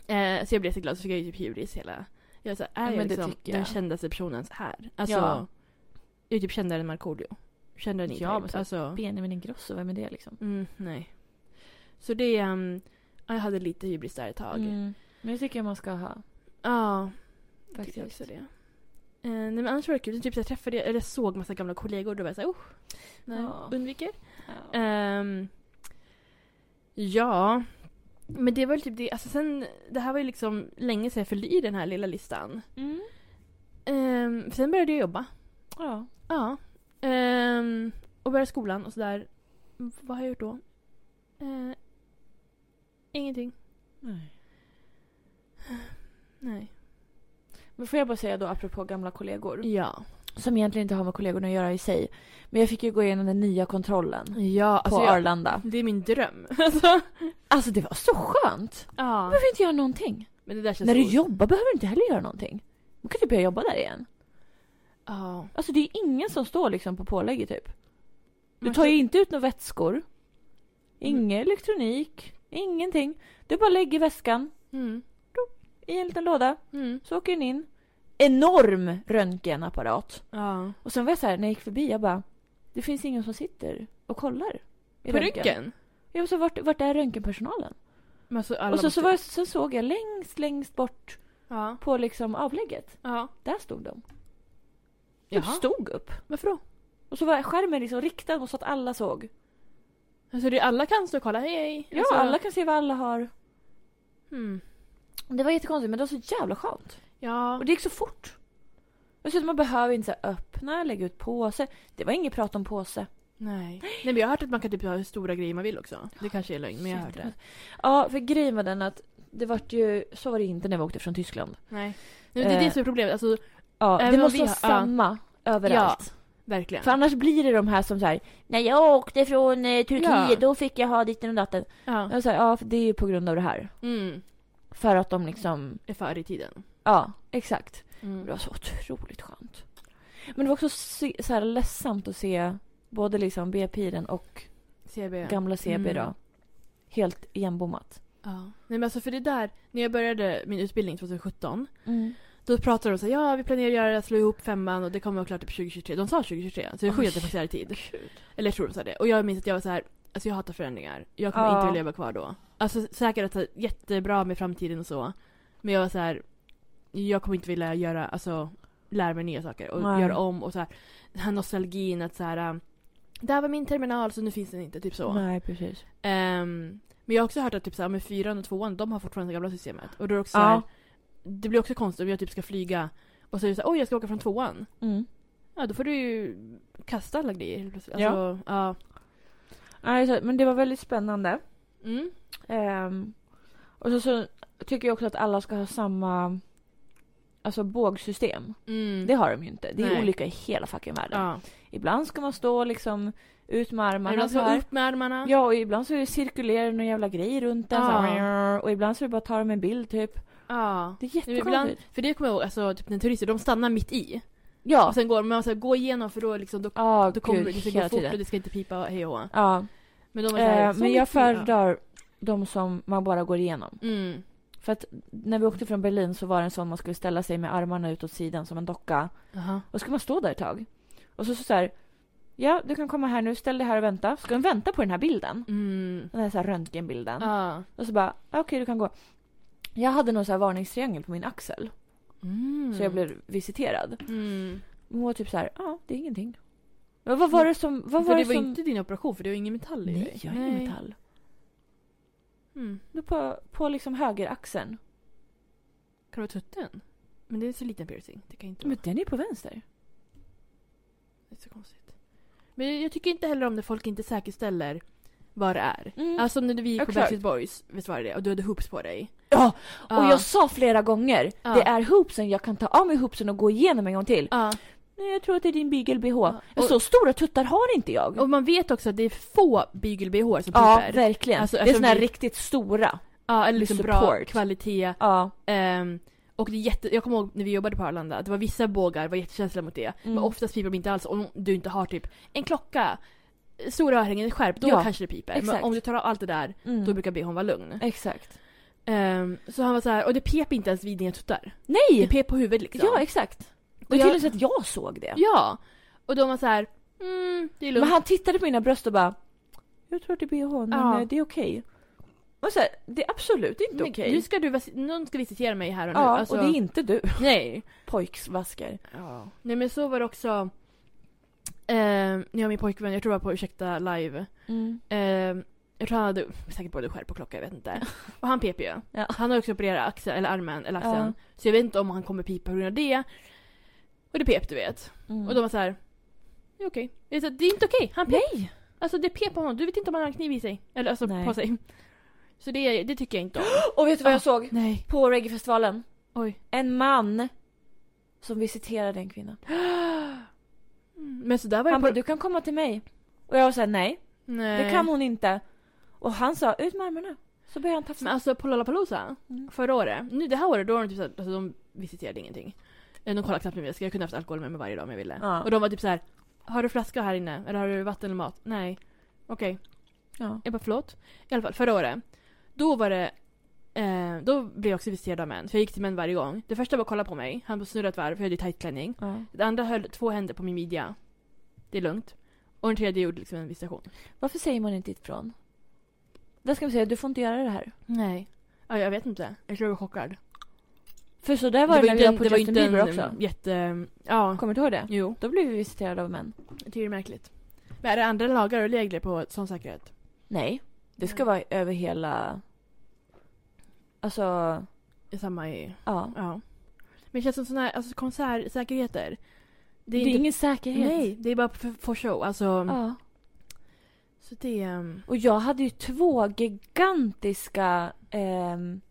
S2: Eh, så jag blev jätteglad så fick jag ju typ hybris hela... Jag så här, är
S1: Ja,
S2: jag
S1: men det
S2: liksom
S1: tycker jag.
S2: den kändaste personen så här? Alltså,
S1: Ja.
S2: jag är typ kändare än Markoolio. Kändare än
S1: Ja,
S2: E-Type.
S1: men så-
S2: alltså,
S1: Benjamin Ingrosso, vem är det liksom?
S2: mm, nej. Så det... ehm, ja, jag hade lite hybris där ett tag.
S1: Mm. Men jag tycker man ska ha.
S2: Ja, jag tycker
S1: Faktiskt.
S2: också det. Eh, nej men annars var det kul. Typ så jag träffade, eller såg massa gamla kollegor och då var jag såhär, oh, nej,
S1: Ja.
S2: undviker.
S1: Ja.
S2: Ehm, ja. Men det var ju typ det. Alltså sen, det här var ju liksom länge sedan jag fyllde i den här lilla listan.
S1: Mm.
S2: Ehm, sen började jag jobba.
S1: ja.
S2: Ja. Ehm, och började skolan och sådär. V- Vad har jag gjort då? Eh, ingenting.
S1: Nej.
S2: Nej.
S1: Men får jag bara säga då apropå gamla kollegor.
S2: Ja.
S1: Som egentligen inte har med kollegorna att göra i sig. Men jag fick ju gå igenom den nya kontrollen.
S2: Ja,
S1: På
S2: alltså jag,
S1: Arlanda.
S2: det är min dröm. [LAUGHS] Alltså.
S1: Alltså det var så skönt!
S2: Ja.
S1: Behöver inte göra någonting.
S2: Men det där känns
S1: När du
S2: så-
S1: jobbar behöver du inte heller göra någonting. Man kan ju börja jobba där igen.
S2: Ja.
S1: Alltså det är ingen som står liksom på pålägget typ. Du
S2: Man
S1: tar ju
S2: känner-
S1: inte ut några
S2: Mm.
S1: vätskor. Ingen elektronik. Ingenting. Du bara lägger väskan
S2: Mm.
S1: i en liten låda.
S2: Mm.
S1: Så åker den in. Enorm röntgenapparat.
S2: Ja.
S1: Och sen var jag så här, när jag gick förbi, jag bara. Det finns ingen som sitter och kollar. i
S2: På
S1: röntgen."
S2: ryggen?
S1: Jag var så här, vart, vart är röntgenpersonalen?
S2: Men alltså, alla
S1: och så, så
S2: måste-
S1: var jag, sen såg jag längst, längst bort
S2: Ja.
S1: på liksom avlägget.
S2: Ja.
S1: Där stod de. De
S2: Jaha.
S1: stod upp.
S2: Varför då?
S1: Och så var skärmen liksom riktad mot så att alla såg.
S2: Alltså det, alla kan stå och kolla, hej hej.
S1: Ja,
S2: alltså,
S1: alla kan se vad alla har.
S2: Hmm.
S1: Det var jättekonstigt men det var så jävla skönt.
S2: Ja.
S1: Och det gick så fort. Och så att man behöver inte så här öppna, lägga ut påse. Det var inget prat om påse.
S2: Nej. Nej men jag har hört att man kan typ ha hur stora grejer man vill också. Det kanske är lögn men jag har hört det.
S1: Jättemycket. Ja, för grejen var den att det vart ju, så var det inte när vi åkte från Tyskland.
S2: Nej. Nej men det är det som är problemet, alltså
S1: Ja,
S2: Även
S1: det
S2: om
S1: måste
S2: vi
S1: vara
S2: har- ja.
S1: samma överallt.
S2: verkligen.
S1: För annars blir det de här som så här, när jag åkte från eh, Turkiet
S2: Ja.
S1: då fick jag ha ditten och datten.
S2: Ja.
S1: Jag så här, ja, för det är ju på grund av det här.
S2: Mm.
S1: För att de liksom,
S2: Är förr i tiden.
S1: ja, exakt. Men Det
S2: Mm.
S1: var så otroligt skönt. Men det var också se- så här ledsamt att se både liksom B-piren och
S2: CB.
S1: gamla CB då.
S2: Mm.
S1: Helt igenbommat.
S2: Ja. Nej men alltså för det där, när jag började min utbildning 2017.
S1: Mm.
S2: Då pratade de så här, ja vi planerar att göra, slå ihop femman och det kommer vara klart typ 2023. De sa 2023, så det är sjukt att det faktiskt är i tid. Eller jag tror de sa det. Och jag minns att jag var så här, alltså jag hatar förändringar. Jag kommer
S1: Ja.
S2: inte vilja leva kvar då. Alltså säkert att det är jättebra med framtiden och så. Men jag var så här, jag kommer inte vilja göra, alltså lära mig nya saker och
S1: Nej.
S2: göra om och så här, den här nostalgin att så här, ähm, där var min terminal så nu finns den inte, typ så.
S1: Nej, precis.
S2: Ehm, men jag har också hört att typ så här, med fyran och tvåan, de har fortfarande det gamla systemet. Och då är det också så
S1: Ja.
S2: här, det blir också konstigt om jag typ ska flyga och så är det så här, oj jag ska åka från tvåan.
S1: Mm.
S2: Ja då får du ju kasta alla grejer helt plötsligt.
S1: Ja.
S2: Alltså, ja.
S1: Nej, så- men det var väldigt spännande.
S2: Mm.
S1: Ehm, och så, så tycker jag också att alla ska ha samma alltså bågsystem.
S2: Mm.
S1: Det har de ju inte. Det är
S2: Nej.
S1: olika i hela fucking världen.
S2: Ja.
S1: Ibland ska man stå liksom ut med
S2: Man
S1: armarna
S2: ibland
S1: så
S2: ska
S1: här.
S2: upp med armarna.
S1: Ja, och ibland så cirkulerar det någon jävla grej runt den.
S2: Ja.
S1: så här, Och ibland så är det bara att ta dem en bild typ.
S2: Ja.
S1: Det är
S2: Men Ibland,
S1: jättekonstigt.
S2: för det kommer jag ihåg, alltså, typ, när turister de stannar mitt i.
S1: Ja.
S2: Och sen går man så här, gå igenom för då, liksom, Alltså, då,
S1: Ja,
S2: då kommer
S1: gud,
S2: det ska gå
S1: hela
S2: fort
S1: tiden.
S2: och det ska inte pipa och hej och hå.
S1: Ja.
S2: Men de var så här,
S1: Eh,
S2: så
S1: men jag
S2: mitt i, ja.
S1: föredrar de som man bara går igenom.
S2: Mm.
S1: För att när vi åkte från Berlin så var det en sån man skulle ställa sig med armarna ut åt sidan som en docka.
S2: Aha.
S1: Och så skulle man stå där ett tag. Och så så, så här. Ja, du kan komma här nu, ställ dig här och vänta. Ska den vänta på den här bilden?
S2: Mm.
S1: Den här, så här röntgenbilden.
S2: Ja.
S1: Och så bara, "Ah, okej du kan gå. Jag hade någon så här varningstriangel på min axel.
S2: Mm.
S1: Så jag blev visiterad.
S2: Mm.
S1: Hon var typ så här, ja det är ingenting. Men vad var det som... Vad
S2: för
S1: var
S2: det
S1: det
S2: var
S1: som...
S2: inte din operation för det var ingen metall i
S1: Nej,
S2: dig.
S1: jag är ingen metall.
S2: Mm.
S1: Det På, på liksom högeraxeln.
S2: Kan det vara tutten? Men det är så liten piercing. Det kan inte vara.
S1: Men den är på vänster.
S2: Det är så konstigt. Men jag tycker inte heller om när folk inte säkerställer vad det är.
S1: Mm.
S2: Alltså när vi gick på
S1: Exakt.
S2: Backstreet Boys, visst var det det? Och du hade hoops på dig.
S1: ja,
S2: Alltså, Ja.
S1: och jag sa flera gånger.
S2: Ja.
S1: Det är hoopsen, jag kan ta av mig hoopsen och gå igenom en gång till.
S2: Ja.
S1: Nej, jag tror att det är din bygel-bh.
S2: Ja, och-
S1: Så stora tuttar har inte jag.
S2: Och man vet också att det är få bygel-bh som
S1: ja,
S2: piper.
S1: verkligen.
S2: Alltså,
S1: det är
S2: eftersom
S1: såna här
S2: vi-
S1: riktigt stora.
S2: Ja, eller liksom bra
S1: Support.
S2: kvalitet.
S1: Ja.
S2: Ehm, och det är jätte, jag kommer ihåg när vi jobbade på Arlanda att det var vissa bågar var jättekänsliga mot det. Men
S1: Mm.
S2: oftast piper de inte alls om du inte har typ en klocka, stora örhängen, ett skärp, då
S1: Ja,
S2: kanske det piper. Men
S1: exakt.
S2: om du tar av allt det där,
S1: Mm.
S2: då brukar bhn vara lugn.
S1: Exakt.
S2: Ehm, så han var så här, och det pep inte ens vid dina tuttar. Det
S1: Nej!
S2: pep på huvudet liksom.
S1: Ja, exakt. Det
S2: och
S1: är till och
S2: jag,
S1: med så att jag såg det.
S2: ja. Och de var så här, mm, det är lugnt.
S1: Men han tittade på mina bröst och bara Jag tror att det är bh, men
S2: Ja.
S1: eh, det är okej. Och så här, det är absolut inte
S2: Men
S1: okej.
S2: Nu ska du, vas- någon ska visitera mig här Mm, och nu.
S1: Ja,
S2: Alltså,
S1: och det är inte du. [LAUGHS]
S2: Nej.
S1: Pojksvasker.
S2: Ja. Nej men så var det också ehm, när jag och min pojkvän, jag tror det var på Ursäkta live. ehm, jag tror han hade säkert både skärp och klocka, jag vet [LAUGHS] inte. Och han pep ju.
S1: Ja.
S2: Han har också opererat axeln, eller armen, eller axeln.
S1: Ja.
S2: Så jag vet inte om han kommer pipa på grund av det. Och det pep du vet.
S1: Mm.
S2: Och de var så här. Det är okej. Det är så- det är inte okej, han pep.
S1: Nej!
S2: Alltså det pep på honom, du vet inte om han har en kniv i sig. Eller alltså
S1: Nej.
S2: på sig. Så det, det tycker jag inte om.
S1: Och vet du vad
S2: Ah.
S1: jag såg?
S2: [GASPS] Nej.
S1: På reggaefestivalen.
S2: Oj.
S1: En man som visiterade en kvinna.
S2: Mm. Men så där var
S1: Han
S2: det
S1: bara
S2: på...
S1: du kan komma till mig. Och jag var såhär nej,
S2: Nej.
S1: det kan hon inte. Och han sa ut med armarna. Så började han tafsa.
S2: Men alltså på Lollapalooza
S1: Mm.
S2: förra året, nu det här året då var de typ såhär, alltså de visiterade ingenting. Eh, De kollade knappt med mig, jag kunde haft alkohol med mig varje dag om jag ville.
S1: Ja.
S2: Och de var typ så här: har du flaska här inne? Eller har du vatten eller mat? Nej. Okej.
S1: Ja.
S2: Jag bara förlåt. I alla fall förra året, då var det eh, då blev jag också visiterad av män, för jag gick till män varje gång. Det första var att kolla på mig, han snurrade ett varv, för jag hade ju tight klänning.
S1: Ja.
S2: Det andra höll två händer på min midja. Det är lugnt. Och den tredje gjorde liksom en visitation.
S1: Varför säger man inte ifrån? Där ska vi säga, du får inte göra det här.
S2: Nej. Ja, jag vet inte. Jag tror jag var chockad.
S1: För så där var det, när vi
S2: inte
S1: var
S2: en-
S1: på
S2: var
S1: Justin
S2: inte en,
S1: Bieber också.
S2: mm, Jätte... Ja.
S1: Kommer du ihåg det?
S2: Jo.
S1: Då blev vi visiterade av män.
S2: Jag tycker det är märkligt. Men är det andra lagar och regler på sån säkerhet?
S1: Nej, det ska
S2: Nej.
S1: vara över hela... Alltså,
S2: Det är Samma i...
S1: ja.
S2: Ja. Men det känns som såna här alltså, konsertsäkerheter.
S1: Det är, ingen säkerhet. Mm.
S2: Nej, det är bara för, för show. Alltså...
S1: Ja.
S2: Så det... ehm,
S1: Och jag hade ju två gigantiska ehm,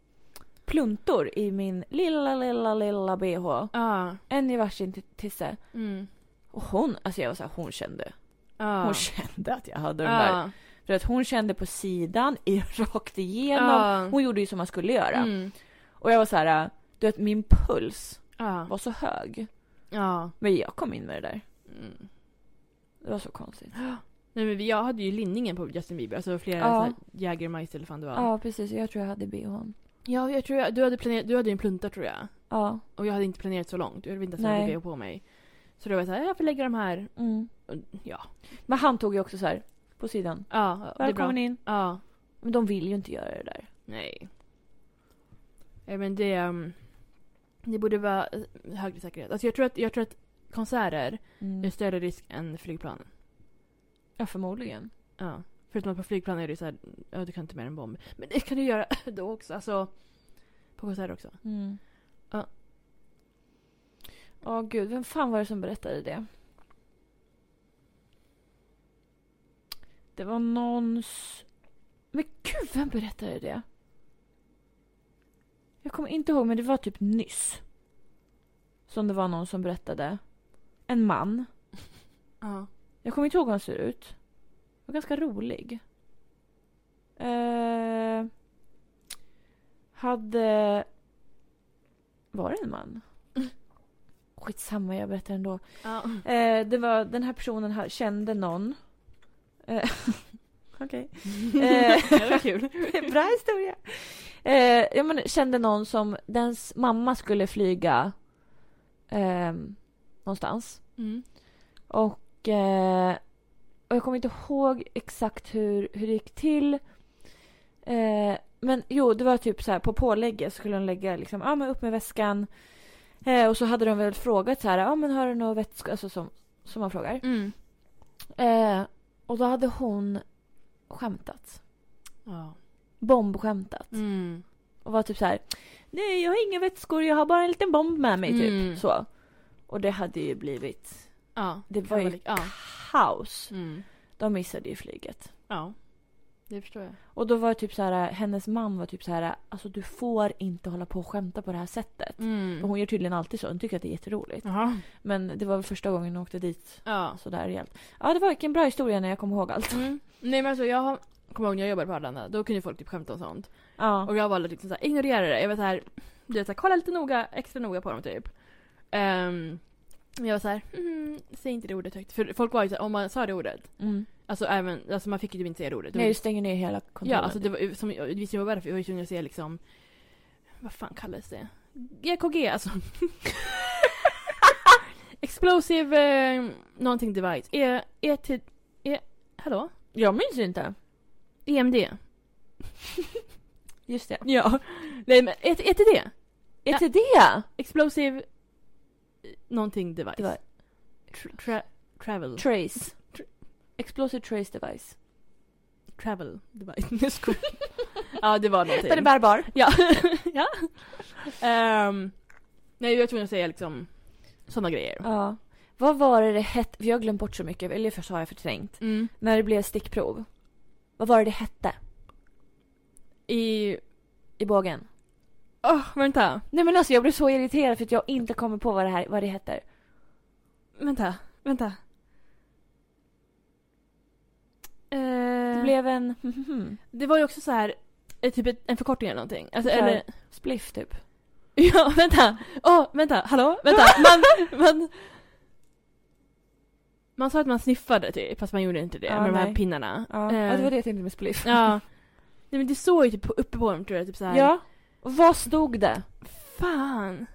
S1: pluntor i min lilla, lilla, lilla bh.
S2: Ja.
S1: En i varsin t- tisse.
S2: Mm.
S1: Och hon, alltså jag var så här, hon kände.
S2: Ja.
S1: Hon kände att jag hade de där.
S2: Ja.
S1: För att hon kände på sidan, i, [LAUGHS] rakt igenom.
S2: Ja.
S1: Hon gjorde ju som man skulle göra.
S2: Mm.
S1: Och jag var så här, äh, du vet min puls
S2: Ja.
S1: var så hög.
S2: Ja.
S1: Men jag kom in med det där.
S2: Mm.
S1: Det var så konstigt.
S2: Nej men jag hade ju linningen på Justin Bieber, alltså flera
S1: Ja.
S2: ja. såhär Jägermeister eller fan det var.
S1: Ja, precis. Jag tror jag hade bhn.
S2: Ja, jag tror jag, du hade planerat, du hade ju en plunta tror jag.
S1: Ja.
S2: Och jag hade inte planerat så långt, jag hade inte ens hade
S1: Nej.
S2: grejer på mig. Så då var jag såhär, jag får lägga de här.
S1: Mm.
S2: Och, ja.
S1: Men han tog ju också så här på sidan.
S2: Ja, det är bra.
S1: Välkommen in.
S2: Ja.
S1: Men de vill ju inte göra det där.
S2: Nej. Ja, men det... ehm, det borde vara eh, högre säkerhet. Alltså jag tror att, jag tror att konserter är
S1: Mm.
S2: större risk än flygplan.
S1: Ja, förmodligen.
S2: Ja. Förutom att på flygplan är det ju såhär, ja du kan inte med en bomb. Men det kan du göra [LAUGHS] då också, alltså. På konserter också.
S1: Mm.
S2: Ja.
S1: Ja, gud. Vem fan var det som berättade det? Det var någons... Men gud, vem berättade det? Jag kommer inte ihåg, men det var typ nyss. Som det var någon som berättade. En man.
S2: Ja.
S1: Jag kommer inte ihåg hur han ser ut. Han var ganska rolig. Eh, hade... Var det en
S2: [LAUGHS]
S1: man? Skitsamma, jag berättar ändå.
S2: [LAUGHS] Ja.
S1: Eh, det var, den här personen här kände någon. Eh, [LAUGHS]
S2: [LAUGHS]
S1: Okej. Eh,
S2: det var [LAUGHS] kul.
S1: [LAUGHS] Bra historia. Eh, jag men, kände någon som dens mamma skulle flyga ehm, någonstans.
S2: Mm.
S1: Och, eh, och jag kommer inte ihåg exakt hur, hur det gick till. Eh, men jo, det var typ så här på pålägget skulle de lägga liksom, ja men upp med väskan. Eh, och så hade de väl frågat så här, ja men har du något vätska, alltså som, som man frågar.
S2: Mm.
S1: Eh, och då hade hon skämtat.
S2: Ja.
S1: Bombskämtat.
S2: Mm.
S1: Och var typ så här, nej jag har inga vätskor, jag har bara en liten bomb med mig
S2: Mm.
S1: typ. Så. Och det hade ju blivit
S2: Ja.
S1: Det
S2: kan
S1: var
S2: vara
S1: ju-
S2: lik- Ja.
S1: kaos.
S2: Mm.
S1: De missade ju flyget.
S2: ja. Det förstår jag.
S1: Och då var det typ så här, hennes man var typ så här, alltså du får inte hålla på och skämta på det här sättet.
S2: Mm.
S1: Och hon gör tydligen alltid så, hon tycker att det är jätteroligt.
S2: Jaha.
S1: Men det var väl första gången hon åkte dit
S2: Ja.
S1: sådär rejält. Ja det var vilken bra historia när jag kom ihåg
S2: [LAUGHS]
S1: allt.
S2: Mm. Nej men alltså jag har, kommer ihåg när jag jobbade på Arlanda, då kunde folk typ skämta om sånt.
S1: Ja.
S2: Och jag valde liksom såhär, ignorera det. Jag var såhär, du vet såhär, kolla lite noga, extra noga på dem typ. Ehm, men jag var såhär, mm, säg inte det ordet högt. För folk var ju såhär, om man sa det ordet,
S1: Mm.
S2: alltså även, alltså man fick ju typ inte säga det ordet. Det var
S1: Nej
S2: ju-
S1: du stänger ner hela
S2: ja,
S1: kontoret.
S2: alltså det var ju, som, jag visste ju varför, jag var ju tvungen att säga liksom, vad fan kallas det? GKG alltså. [LAUGHS] Explosive eh, någonting device. E, e, t, e, hallå? E
S1: Jag minns ju
S2: [LAUGHS]
S1: inte.
S2: EMD?
S1: Just det.
S2: Ja. Nej men ET, ETD?
S1: Är det det?
S2: Explosive eh, någonting device.
S1: Det var
S2: Tra- tra- travel.
S1: Trace. Explosive Trace Device.
S2: travel device. [LAUGHS] Nu skojar jag. Ja det var någonting.
S1: Den är bärbar.
S2: ja. [LAUGHS] ja. Ehm, nej jag var tvungen att säga liksom sådana grejer.
S1: Ja. Vad var det det hette? För jag har glömt bort så mycket, eller först har jag förträngt.
S2: Mm.
S1: När det blev stickprov. Vad var det det hette
S2: I...
S1: i bågen?
S2: Åh vänta.
S1: Nej men alltså jag blev så irriterad för att jag inte kommer på vad det här vad det heter.
S2: Vänta. Vänta.
S1: Det
S2: Eh,
S1: blev en [LAUGHS]
S2: det var ju också så här eh, typ ett, en förkortning eller någonting. Alltså,
S1: Så här.
S2: eller,
S1: spliff typ.
S2: ja, vänta. Åh, vänta. Hallå, vänta. Man, man, man sa att man sniffade typ, fast man gjorde inte det
S1: Ja,
S2: med de här
S1: nej.
S2: pinnarna.
S1: Ja,
S2: Eh,
S1: ja det var det jag tänkte med spliff.
S2: Ja. Nej men det såg ju typ på- uppe på dem tror jag, typ såhär.
S1: [LAUGHS] Ja. Och vad stod det?
S2: Fan.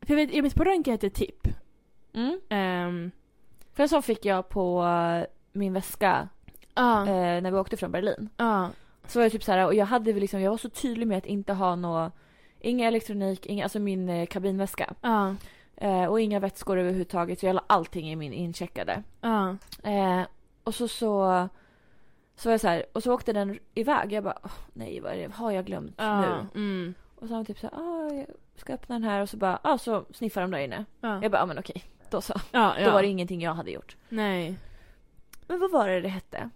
S2: För jag vet, jag minns på röntgen hette tipp.
S1: Mm.
S2: Ehm,
S1: För en sån fick jag på eh, min väska
S2: Ja.
S1: eh, när vi åkte från Berlin.
S2: ja.
S1: Så var jag typ så här, och jag hade väl liksom, jag var så tydlig med att inte ha nå inga elektronik, inga, alltså min eh, kabinväska.
S2: Ja.
S1: Eh, och inga vätskor överhuvudtaget, så jag la allting i min incheckade.
S2: Ja.
S1: Eh, och så så så var jag så här, och så åkte den iväg. Jag bara, "Åh, nej vad är det, har jag glömt nu?
S2: Ja. Mm.
S1: Och så var de typ så här, ah, jag ska öppna den här och så bara, ah, så sniffar de där inne.
S2: Ja.
S1: Jag bara, ah, men okej, då så.
S2: Ja, ja.
S1: Då var det ingenting jag hade gjort.
S2: Nej.
S1: Men vad var det det hette?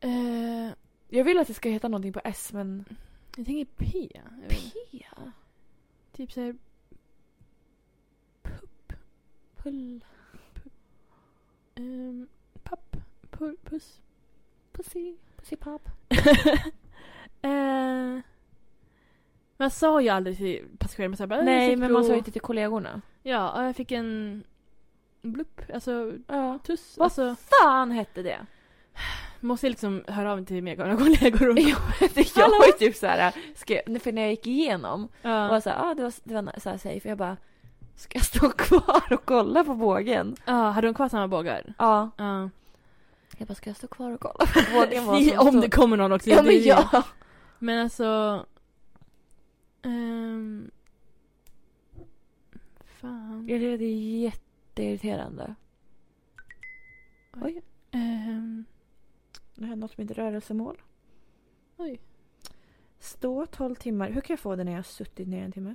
S2: Eh,
S1: Jag vill att det ska heta någonting på S men...
S2: jag tänker P. Jag vet inte.
S1: P?
S2: Typ såhär.
S1: Pull...
S2: Um, papp. Pu-
S1: [LAUGHS]
S2: puss.
S1: Pussy? Pussy pop?
S2: Eh, man sa ju aldrig till passagerarna så här, bara,
S1: Nej
S2: "Sätt
S1: men
S2: på."
S1: man sa ju inte till kollegorna.
S2: Ja, och jag fick en blupp, alltså
S1: Ja.
S2: tuss.
S1: Vad
S2: Alltså,
S1: fan hette det? [LAUGHS]
S2: måste jag liksom höra av mig till mina gamla [LAUGHS]
S1: [LAUGHS]
S2: kollegor. Och,
S1: Jo, jag
S2: Hallå?
S1: var ju typ såhär, skrev, för när jag gick igenom
S2: ja.
S1: och var såhär, ah, det var, det var såhär safe. Jag bara, ska jag stå [LAUGHS] kvar och kolla på bågen?
S2: ja, hade de kvar samma bågar?
S1: Ja.
S2: Ja.
S1: Jag bara, ska jag stå kvar och kolla [LAUGHS] på bågen?
S2: [LAUGHS]
S1: vad som
S2: Om
S1: stod?"
S2: det kommer någon också.
S1: Ja
S2: det är
S1: men
S2: ju-
S1: ja!
S2: Men alltså... ehm, fan.
S1: Jag tycker att det är jätteirriterande.
S2: Ehm,
S1: Det här är något med mitt rörelsemål.
S2: oj.
S1: Stå 12 timmar. Hur kan jag få det när jag har suttit ner en timme?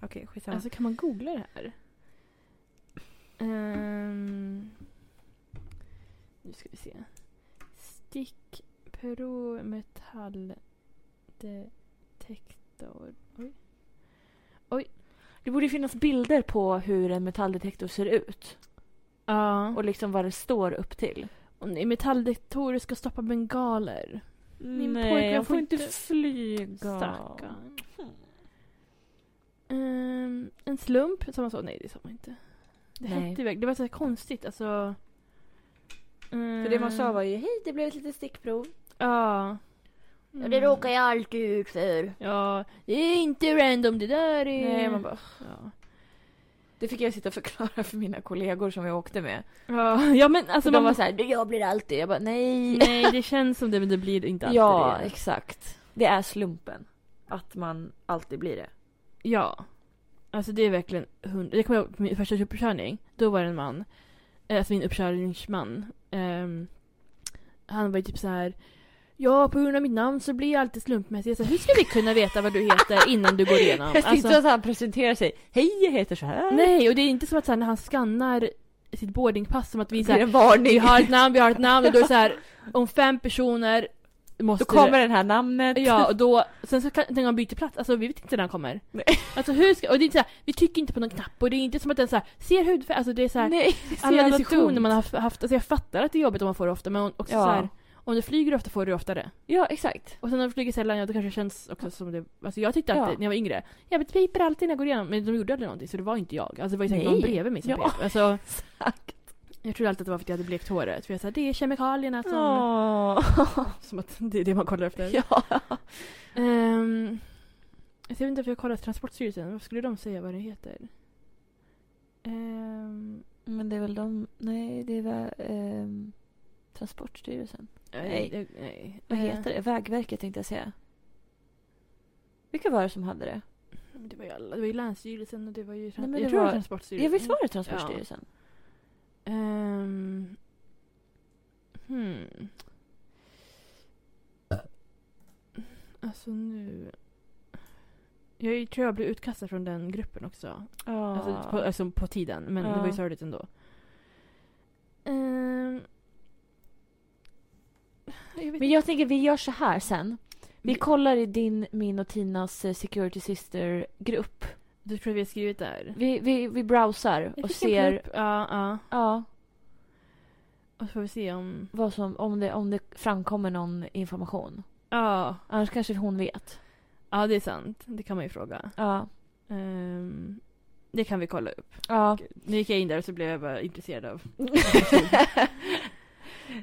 S1: Okej, skitsamma.
S2: Alltså kan man googla det här? Ehm, nu ska vi se. Stickprovmetalldetektor. Oj.
S1: det borde ju finnas bilder på hur en metalldetektor ser ut.
S2: Ja.
S1: Och liksom vad det står upp till.
S2: Och nej, metalldetektorer ska stoppa bengaler. Min
S1: Nej,
S2: pojkvän
S1: jag
S2: får
S1: Mm, får inte
S2: inte
S1: flyga.
S2: Stackarn. Ehm, en slump, som man sa. Nej, det sa man inte. Det
S1: Nej.
S2: hette iväg. Det var så här konstigt, alltså.
S1: För det man sa var ju hej det blev ett litet stickprov.
S2: Ehm, Ja.
S1: Och
S2: Mm.
S1: det råkar jag alltid ut för.
S2: Ja, det är inte random det där är...
S1: Nej, man bara,
S2: Ja,
S1: det fick jag sitta och förklara för mina kollegor som jag åkte med.
S2: ja, ja men alltså
S1: Så
S2: man
S1: de var såhär, jag blir alltid. Jag bara nej.
S2: [LAUGHS] Nej, det känns som det men det blir inte alltid
S1: ja,
S2: det.
S1: exakt. Det är slumpen. Att man alltid blir det.
S2: Ja. Alltså det är verkligen hundra... Jag kommer ihåg på min första uppkörning. Då var det en man. eh, Alltså min uppkörningsman. Ehm, han var ju typ så här. Ja, på grund av mitt namn så blir jag alltid slumpmässig. Jag sa, Hur ska vi kunna veta vad du heter innan du går [LAUGHS] igenom?
S1: [LAUGHS] Jag tänkte
S2: Alltså,
S1: att han presenterar sig. Hej, jag heter så här.
S2: nej, och det är inte som att så här, när han skannar sitt boardingpass som att vi
S1: Det är
S2: såhär,
S1: en varning.
S2: vi har ett namn, vi har ett namn och då är det såhär, om fem personer
S1: [LAUGHS]
S2: måste
S1: Då kommer den här namnet.
S2: Ja, och då, sen så kan när han byter plats, alltså vi vet inte när han kommer.
S1: Nej.
S2: Alltså hur ska, och det är inte såhär, vi tycker inte på någon knapp och det är inte som att den såhär, ser hudfärg, alltså det är
S1: [LAUGHS]
S2: såhär,
S1: Nej, det är så
S2: alla
S1: jävla
S2: diskussioner
S1: dumt.
S2: man har haft, alltså jag fattar att det är jobbigt om man får det ofta men också
S1: Ja.
S2: såhär, om du flyger ofta får du det oftare.
S1: Ja, exakt.
S2: Och sen när du flyger sällan, ja då kanske det känns också som det, alltså jag tyckte
S1: Ja.
S2: alltid när jag var yngre, jag vet, piper alltid när jag går igenom, men de gjorde aldrig någonting så det var inte jag. Alltså det var ju säkert
S1: Nej.
S2: någon bredvid mig som
S1: Ja.
S2: pep. Alltså,
S1: [LAUGHS] Exakt.
S2: jag trodde alltid att det var för att jag hade blekt håret, för jag sa det är kemikalierna som...
S1: Åh.
S2: [LAUGHS] Som att det är det man kollar efter.
S1: Ja.
S2: Ehm, jag vet inte varför jag kollar Transportstyrelsen. Vad skulle de säga vad det heter? Ehm,
S1: Men det är väl de... Nej, det är väl, ehm, Transportstyrelsen. Nej.
S2: eh, nej.
S1: Vad
S2: Eh,
S1: heter det? Vägverket tänkte jag säga. Vilka var det som hade det?
S2: Det var ju alla. Det var ju Länsstyrelsen och det var ju trans-
S1: Nej, men
S2: jag
S1: det
S2: tror det var
S1: var-
S2: Transportstyrelsen.
S1: Ja, visst var det Transportstyrelsen?
S2: Ehm, hmm. Alltså nu... Jag tror jag blev utkastad från den gruppen också.
S1: Ja.
S2: Alltså på, alltså på tiden, men det var
S1: Ja.
S2: ju sorgligt ändå. Ehm. Jag vet
S1: Men jag tänker vi gör så här sen. Vi kollar i din, min och Tinas eh, Security Sister-grupp.
S2: Du tror vi har skrivit där?
S1: Vi, vi, vi browsar och ser
S2: Ja, ja.
S1: ja,
S2: Och så får vi se om...
S1: vad som, om, det, om det framkommer någon information.
S2: Ja.
S1: Annars kanske hon vet.
S2: Ja, det är sant. Det kan man ju fråga.
S1: Ja.
S2: Ehm, det kan vi kolla upp.
S1: ja.
S2: Nu gick jag in där och så blev jag bara intresserad av...
S1: [LAUGHS]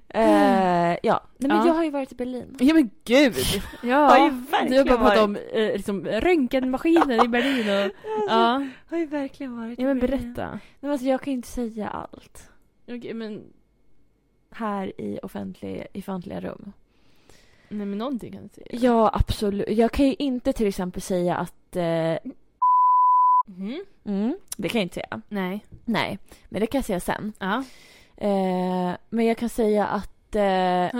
S1: Eh, ja. Nej, men
S2: Ja.
S1: jag har ju varit i Berlin.
S2: Ja men gud!
S1: har ju
S2: Ja! Du har
S1: verkligen
S2: bara pratat
S1: varit,
S2: om eh, liksom, röntgenmaskinen i Berlin [LAUGHS]
S1: [LAUGHS]
S2: och... Ja.
S1: har ju verkligen varit
S2: ja,
S1: i
S2: men
S1: Berlin.
S2: berätta.
S1: Nej, men alltså, jag kan ju inte säga allt
S2: Okej, men...
S1: här i offentliga, i offentliga rum.
S2: Nej men någonting kan du säga.
S1: Ja, absolut. Jag kan ju inte till exempel säga att... Eh,
S2: Mhm.
S1: mm, det kan jag inte säga.
S2: Nej.
S1: Nej, men det kan jag säga sen.
S2: Ja.
S1: Eh, men jag kan säga att... Eh,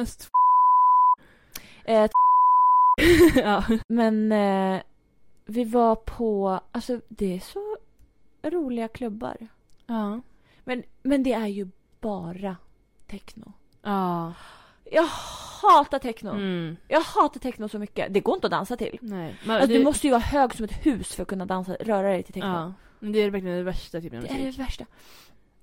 S1: eh,
S2: [LAUGHS] ja.
S1: men eh, vi var på... Alltså, det är så roliga klubbar.
S2: Ja.
S1: Men, men det är ju bara techno.
S2: Ja.
S1: Jag hatar techno.
S2: Mm.
S1: Jag hatar techno så mycket. Det går inte att dansa till.
S2: Nej. Men
S1: Alltså, du
S2: det-
S1: måste ju vara hög som ett hus för att kunna dansa, röra dig till techno.
S2: Ja. Men det är verkligen det värsta typen av
S1: Det är det
S2: musik.
S1: värsta.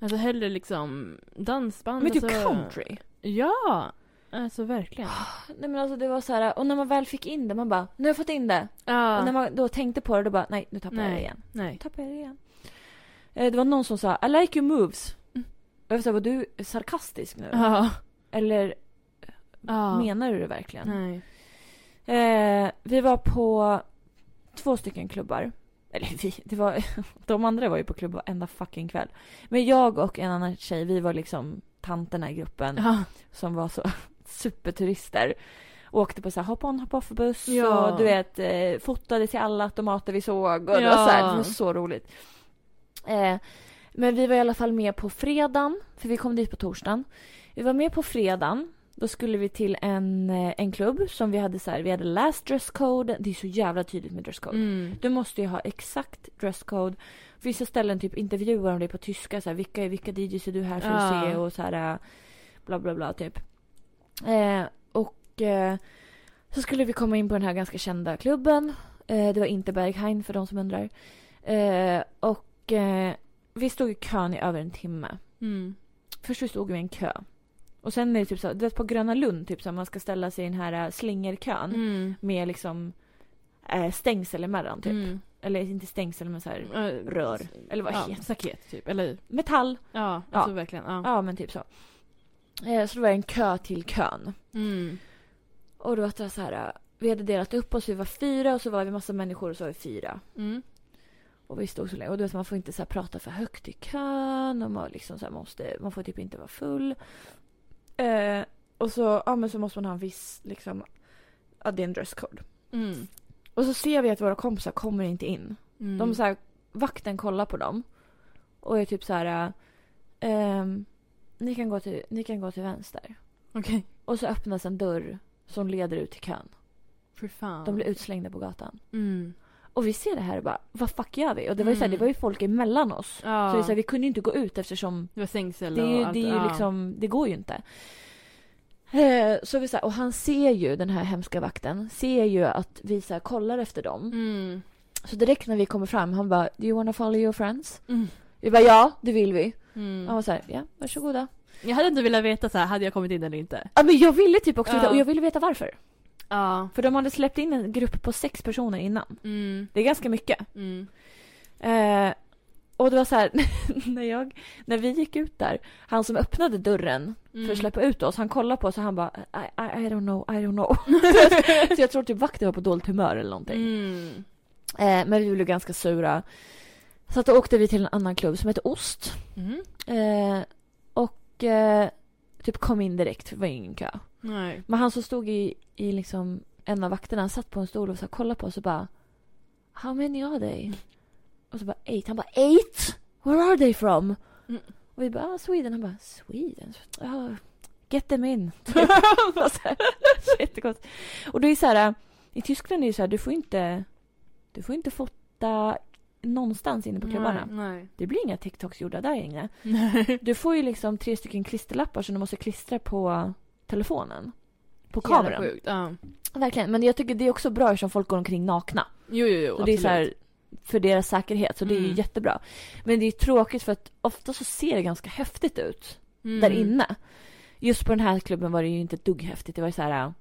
S2: Alltså hellre liksom dansband.
S1: Men typ
S2: alltså...
S1: country.
S2: Ja! Alltså verkligen.
S1: Nej men alltså det var så här, och när man väl fick in det, man bara nu har jag fått in det.
S2: Ja.
S1: Och när man då tänkte på det, då bara nej nu tappar jag
S2: Nej.
S1: det igen. Nu
S2: Nej.
S1: tappar jag det igen. Eh, Det var någon som sa I like your moves.
S2: Mm.
S1: Och jag sa, var du sarkastisk nu?
S2: Ja.
S1: Eller
S2: Ja.
S1: menar du det verkligen?
S2: Nej.
S1: Eh, vi var på två stycken klubbar. Eller vi, det var, [LAUGHS] de andra var ju på klubb varenda fucking kväll. Men jag och en annan tjej, vi var liksom tanterna i gruppen
S2: Ja.
S1: som var så [LAUGHS] superturister. Åkte på så här hoppa on hoppa off buss
S2: Ja.
S1: och du vet eh, fotade till alla automater vi såg och det,
S2: Ja.
S1: var så här, det var så roligt. Eh, men vi var i alla fall med på fredagen, för vi kom dit på torsdagen. Vi var med på fredagen, då skulle vi till en, eh, en klubb som vi hade så här, vi hade läst dresscode, det är så jävla tydligt med dresscode.
S2: Mm.
S1: Du måste ju ha exakt dresscode. Vissa ställen typ intervjuar om det på tyska. Så här, vilka, vilka DJs är du här för att
S2: Ja.
S1: se? Och så här, äh, bla bla bla typ. Eh, och eh, så skulle vi komma in på den här ganska kända klubben. Eh, det var inte Berghain för de som undrar. Eh, och eh, vi stod i kön i över en timme.
S2: Mm.
S1: Först så stod vi i en kö. Och sen är det typ så här, du vet på Gröna Lund typ så här, man ska ställa sig i den här äh, slingerkön.
S2: Mm.
S1: Med liksom äh, stängsel emellan typ.
S2: Mm.
S1: Eller inte stängsel men så här
S2: Eh,
S1: Mm. rör. Eller vad
S2: Ja,
S1: heter
S2: staket typ. Eller
S1: Metall.
S2: ja,
S1: Ja.
S2: alltså verkligen. Ja.
S1: Ja men typ så. Eh, Så det var en kö till kön.
S2: Mm.
S1: Och då var det så här. eh, Vi hade delat upp oss, vi var fyra och så var vi massa människor och så var vi fyra.
S2: Mm.
S1: Och vi stod så länge. Och du vet man får inte så här prata för högt i kön och man liksom så här måste, man får typ inte vara full. Eh, och så, ja men så måste man ha en viss liksom, ja det är en dresscode.
S2: Mm.
S1: Och så ser vi att våra kompisar kommer inte in.
S2: Mm.
S1: De så här, vakten kollar på dem och är typ så här... eh, ehm, ni, kan gå till, ni kan gå till vänster.
S2: Okej.
S1: Och så öppnas en dörr som leder ut till kön.
S2: För fan.
S1: De blir utslängda på gatan.
S2: Mm.
S1: Och vi ser det här och bara, vad fuck gör vi? Och det var ju, så här,
S4: Mm.
S1: det var ju folk emellan oss.
S4: Ja.
S1: Så, det är så här, vi kunde ju inte gå ut eftersom
S4: det var sängcell
S1: det, är
S4: och
S1: ju,
S4: allt.
S1: det, är ju
S4: ja.
S1: liksom, det går ju inte. Eh, Så vi så här, och han ser ju, den här hemska vakten, ser ju att vi så här, kollar efter dem.
S4: Mm.
S1: Så direkt när vi kommer fram, han bara “Do you wanna follow your friends?”
S4: Mm.
S1: Vi bara “Ja, det vill vi”.
S4: Mm.
S1: Han var såhär “Ja, varsågoda”.
S4: Jag hade inte velat veta så här, hade jag kommit in eller inte?
S1: Ja, men jag ville typ också
S4: Ja.
S1: veta, och jag ville veta varför.
S4: Ja.
S1: För de hade släppt in en grupp på sex personer innan.
S4: Mm.
S1: Det är ganska mycket.
S4: Mm.
S1: Eh, och det var så här, [LAUGHS] när, jag, när vi gick ut där, han som öppnade dörren för att släppa ut oss, han kollade på oss och han bara I, I, I don't know, I don't [LAUGHS] know. så jag tror typ vakten var på dåligt humör eller någonting.
S4: Mm.
S1: Eh, men vi blev ganska sura. Så att då åkte vi till en annan klubb som heter Ost.
S4: Mm.
S1: Eh, och eh, typ kom in direkt, för det var ingen kö.
S4: Nej.
S1: Men han som stod i, i liksom en av vakterna, han satt på en stol och så här, kollade på oss och bara How many are they? Och så bara eight. Han bara eight? Where are they from?
S4: Mm.
S1: Och vi bara ah, Sweden. Han bara Sweden? Ja, get
S4: [LAUGHS]
S1: them in. [LAUGHS] Och så här, så Jättekonstigt. Och det är så här, i Tyskland är det så här, du får inte, du får inte fota någonstans inne på klubbarna.
S4: Nej.
S1: Det blir inga TikToks gjorda där inne.
S4: Nej.
S1: Du får ju liksom tre stycken klisterlappar som du måste klistra på telefonen. På
S4: Jävla
S1: kameran.
S4: Sjukt. Ja.
S1: Verkligen. Men jag tycker det är också bra eftersom folk går omkring nakna.
S4: Jo, jo, jo.
S1: Så det är
S4: absolut.
S1: så här, för deras säkerhet. Så det är ju
S4: Mm.
S1: jättebra. Men det är tråkigt för att ofta så ser det ganska häftigt ut
S4: Mm.
S1: där inne. Just på den här klubben var det ju inte ett dugg häftigt. Det var ju så här,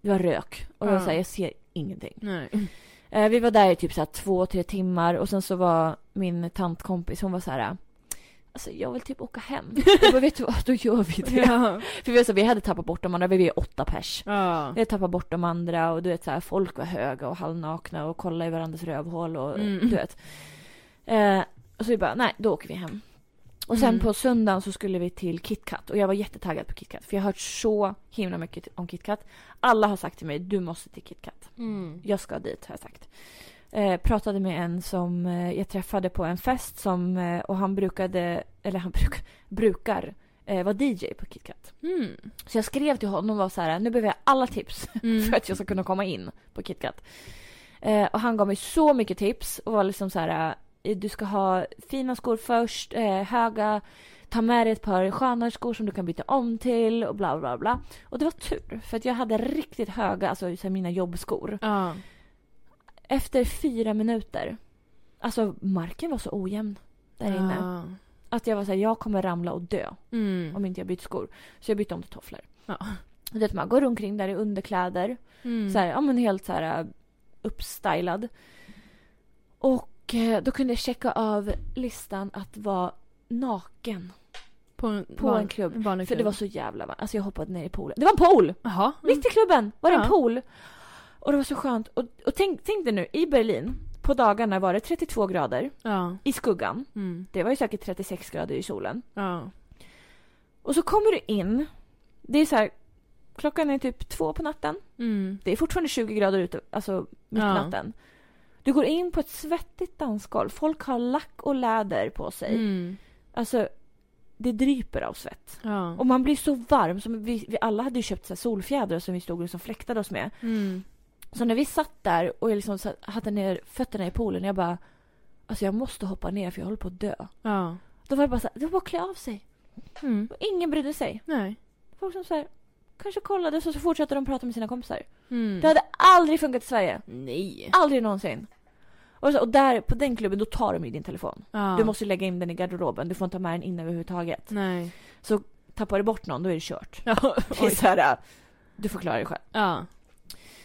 S1: det var rök. Och det var
S4: Ja.
S1: så här, jag ser ingenting.
S4: Nej.
S1: Eh, Vi var där i typ så här två, tre timmar och sen så var min tantkompis, hon var så här. Alltså jag vill typ åka hem. Jag bara, vet du vad, då gör vi det.
S4: [LAUGHS] Ja.
S1: För vi, var så, vi hade tappat bort de andra, vi var ju åtta pers.
S4: Ja.
S1: Vi hade tappat bort de andra och du vet så här, folk var höga och halvnakna och kollade i varandras rövhål och
S4: Mm.
S1: du vet. Eh, och så vi bara, nej då åker vi hem. Och sen
S4: Mm.
S1: på söndagen så skulle vi till KitKat och jag var jättetaggad på KitKat för jag har hört så himla mycket om KitKat. Alla har sagt till mig, du måste till KitKat.
S4: Mm.
S1: Jag ska dit har jag sagt. Eh, pratade med en som eh, jag träffade på en fest som, eh, och han brukade, eller han bruk, [LAUGHS] brukar eh, vara DJ på KitKat.
S4: Mm.
S1: Så jag skrev till honom och var så här, nu behöver jag alla tips [LAUGHS] för
S4: Mm.
S1: att jag ska kunna komma in på KitKat. Eh, och han gav mig så mycket tips och var liksom så här, eh, du ska ha fina skor först, eh, höga, ta med dig ett par skönare skor som du kan byta om till och bla bla bla. Och det var tur för att jag hade riktigt höga, alltså så här, mina jobbskor.
S4: Ja.
S1: Efter fyra minuter, alltså marken var så ojämn där inne.
S4: Ja.
S1: Att jag var såhär, jag kommer ramla och dö
S4: Mm.
S1: om inte jag byter skor. Så jag bytte om till tofflor.
S4: Ja.
S1: Och Du vet man går omkring där i underkläder.
S4: Mm.
S1: Så här, ja men helt så här äh, uppstylad. Och eh, då kunde jag checka av listan att vara naken.
S4: På en,
S1: på en klubb.
S4: vanlig
S1: För det
S4: klubb.
S1: var så jävla varmt. Alltså jag hoppade ner i poolen. Det var en pool!
S4: Jaha.
S1: Mitt i klubben var det en
S4: Mm. Ja.
S1: pool. Och det var så skönt. Och, och tänk, tänk dig nu, i Berlin på dagarna var det 32 grader
S4: Mm. Ja.
S1: i skuggan.
S4: Mm.
S1: Det var ju säkert 36 grader i solen.
S4: Ja.
S1: Och så kommer du in. Det är så här, klockan är typ två på natten.
S4: Mm.
S1: Det är fortfarande 20 grader ute, alltså mitt på
S4: Ja.
S1: natten. Du går in på ett svettigt dansgolv. Folk har lack och läder på sig.
S4: Mm.
S1: Alltså, det dryper av svett.
S4: Ja.
S1: Och man blir så varm. Som vi, vi alla hade ju köpt så här solfjädrar som vi stod och liksom fläktade oss med.
S4: Mm.
S1: Så när vi satt där och jag liksom satt- hade ner fötterna i poolen, jag bara Alltså jag måste hoppa ner för jag håller på att dö.
S4: Ja.
S1: Då var det bara så här, det var bara att klä av sig.
S4: Mm.
S1: Och ingen brydde sig.
S4: Nej.
S1: Folk som så här, kanske kollade och så fortsatte de prata med sina kompisar.
S4: Mm.
S1: Det hade aldrig funkat i Sverige.
S4: Nej.
S1: Aldrig någonsin. Och, så, och där, på den klubben, då tar de ju din telefon.
S4: Ja.
S1: Ah,
S4: Mm.
S1: Du måste lägga in den i garderoben, du får inte ta med den in överhuvudtaget.
S4: Nej.
S1: Tappar du bort någon, då är
S4: [LAUGHS]
S1: det kört.
S4: Ja.
S1: Det är så här, äh, du får klara dig själv.
S4: Ja.